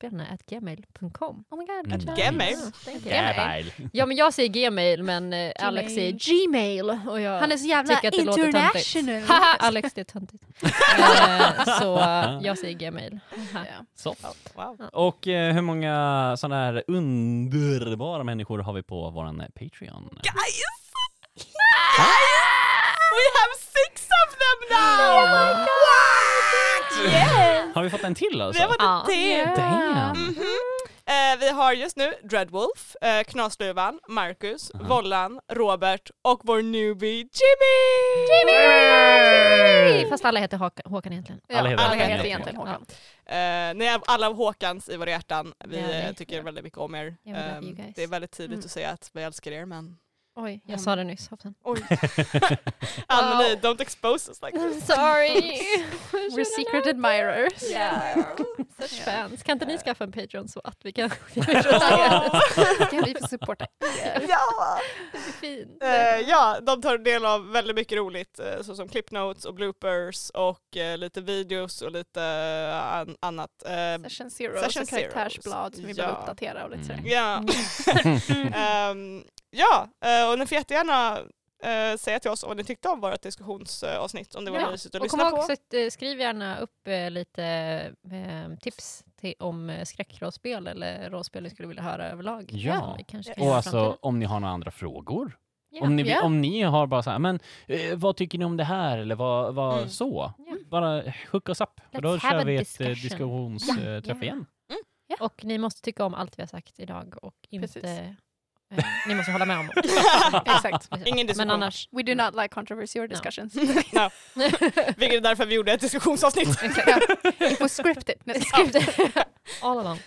[SPEAKER 3] kontakt.rollspelarna.gmail.com
[SPEAKER 4] Oh my god,
[SPEAKER 1] Mm.
[SPEAKER 4] good job.
[SPEAKER 2] Gmail.
[SPEAKER 3] Ja, thank you.
[SPEAKER 1] Jävlar.
[SPEAKER 3] Ja men jag säger Gmail men eh, Alex säger Gmail och jag
[SPEAKER 4] Han är så jävla
[SPEAKER 3] tycker att det låter
[SPEAKER 4] international.
[SPEAKER 3] töntigt. Haha, Alex det är töntigt. Eh, så eh, jag säger Gmail. Haha.
[SPEAKER 4] Ja.
[SPEAKER 1] Så.
[SPEAKER 2] wow.
[SPEAKER 1] Och eh, hur många sådana här underbara människor har vi på våran eh, Patreon?
[SPEAKER 2] Guys! Guys! We have six of them now! Oh my god! Yeah!
[SPEAKER 1] Har vi fått en till alltså?
[SPEAKER 2] Det var
[SPEAKER 3] Ja.
[SPEAKER 2] det.
[SPEAKER 4] Yeah.
[SPEAKER 1] Damn!
[SPEAKER 3] Mm.
[SPEAKER 2] Mhm. Eh, vi har just nu Dreadwolf, eh, Knasluvan, Marcus, Vollan, Robert och vår newbie Jimmy!
[SPEAKER 3] Jimmy! Fast alla heter Håkan, Håkan egentligen.
[SPEAKER 4] Ja,
[SPEAKER 1] Alla heter
[SPEAKER 4] alla
[SPEAKER 2] Håkan.
[SPEAKER 4] heter egentligen Håkan.
[SPEAKER 2] Eh, ni är alla Håkans i våra hjärtan. Vi
[SPEAKER 3] Ja, det-
[SPEAKER 2] eh, tycker väldigt mycket om er.
[SPEAKER 3] Ja, we love you
[SPEAKER 2] Eh,
[SPEAKER 3] guys.
[SPEAKER 2] det är väldigt tidigt
[SPEAKER 4] Mm.
[SPEAKER 2] att säga att vi älskar er men...
[SPEAKER 3] Oj, jag
[SPEAKER 2] Mm.
[SPEAKER 3] sa det nyss. Hoppsan.
[SPEAKER 2] Oj. Anneli, don't expose us like this.
[SPEAKER 3] sorry!
[SPEAKER 4] We're secret admirers.
[SPEAKER 3] Yeah. Such
[SPEAKER 4] Yeah.
[SPEAKER 3] fans. Kan inte ni skaffa en Patreon så att vi kan...
[SPEAKER 4] Kan vi få supporta er?
[SPEAKER 2] ja.
[SPEAKER 3] Fint.
[SPEAKER 2] Eh, ja, de tar del av väldigt mycket roligt eh, såsom clip notes och bloopers och eh, lite videos och lite eh, an- annat. Eh,
[SPEAKER 4] Session Zero,
[SPEAKER 2] Session
[SPEAKER 4] Session karaktärsblad som vi
[SPEAKER 2] Zeros.
[SPEAKER 4] behöver uppdatera och lite sådär.
[SPEAKER 1] Mm.
[SPEAKER 2] Ja,
[SPEAKER 3] Mm.
[SPEAKER 2] Ehm, ja eh, och ni får jättegärna eh, säga till oss vad ni tyckte om vårt diskussionsavsnitt, om det var
[SPEAKER 3] Ja,
[SPEAKER 2] mysigt att
[SPEAKER 3] Och kom
[SPEAKER 2] lyssna
[SPEAKER 3] ihåg
[SPEAKER 2] på.
[SPEAKER 3] också att eh, skriv gärna upp eh, lite eh, tips till, om eh, skräckrollspel eller rollspel ni skulle vilja höra överlag.
[SPEAKER 1] Ja.
[SPEAKER 3] Som vi kanske kan
[SPEAKER 1] Och
[SPEAKER 3] göra i
[SPEAKER 1] alltså
[SPEAKER 3] framtiden.
[SPEAKER 1] om ni har några andra frågor?
[SPEAKER 3] Ja.
[SPEAKER 1] Om ni, vill-
[SPEAKER 4] Ja.
[SPEAKER 1] om ni har bara så här, men eh, vad tycker ni om det här eller vad, vad
[SPEAKER 2] Mm.
[SPEAKER 1] så?
[SPEAKER 3] Ja.
[SPEAKER 1] Bara hook oss up, för
[SPEAKER 3] Let's
[SPEAKER 1] då
[SPEAKER 3] have
[SPEAKER 1] kör
[SPEAKER 3] a
[SPEAKER 1] vi ett eh,
[SPEAKER 3] discussion.
[SPEAKER 1] diskussionsträff
[SPEAKER 3] Ja.
[SPEAKER 1] eh, träff
[SPEAKER 3] Ja.
[SPEAKER 1] igen.
[SPEAKER 3] Och ni måste tycka om allt vi har sagt idag och
[SPEAKER 4] Precis.
[SPEAKER 3] inte... Eh, ni måste hålla med om det.
[SPEAKER 4] Exakt.
[SPEAKER 2] Ingen diskussion.
[SPEAKER 3] Men annars...
[SPEAKER 4] We do not like controversy or discussions.
[SPEAKER 2] Vilket är därför vi gjorde ett diskussionsavsnitt.
[SPEAKER 4] Exakt. Ja. It was scripted. Nej,
[SPEAKER 3] Skriv det. All along.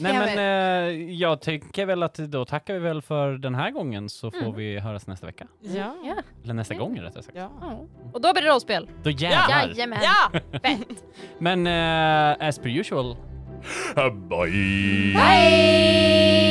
[SPEAKER 1] Nej
[SPEAKER 4] Ja,
[SPEAKER 1] men eh, jag tänker väl att då tackar vi väl för den här gången så får
[SPEAKER 3] Mm.
[SPEAKER 1] vi höras nästa vecka.
[SPEAKER 2] Ja.
[SPEAKER 4] Ja.
[SPEAKER 1] Eller nästa
[SPEAKER 3] Ja.
[SPEAKER 1] gång rättare sagt.
[SPEAKER 2] Ja.
[SPEAKER 4] Oh.
[SPEAKER 3] Och då blir det rollspel.
[SPEAKER 1] Då jävlar!
[SPEAKER 4] Jajamän.
[SPEAKER 2] ja.
[SPEAKER 1] Men eh, as per usual. Bye!
[SPEAKER 3] Hej!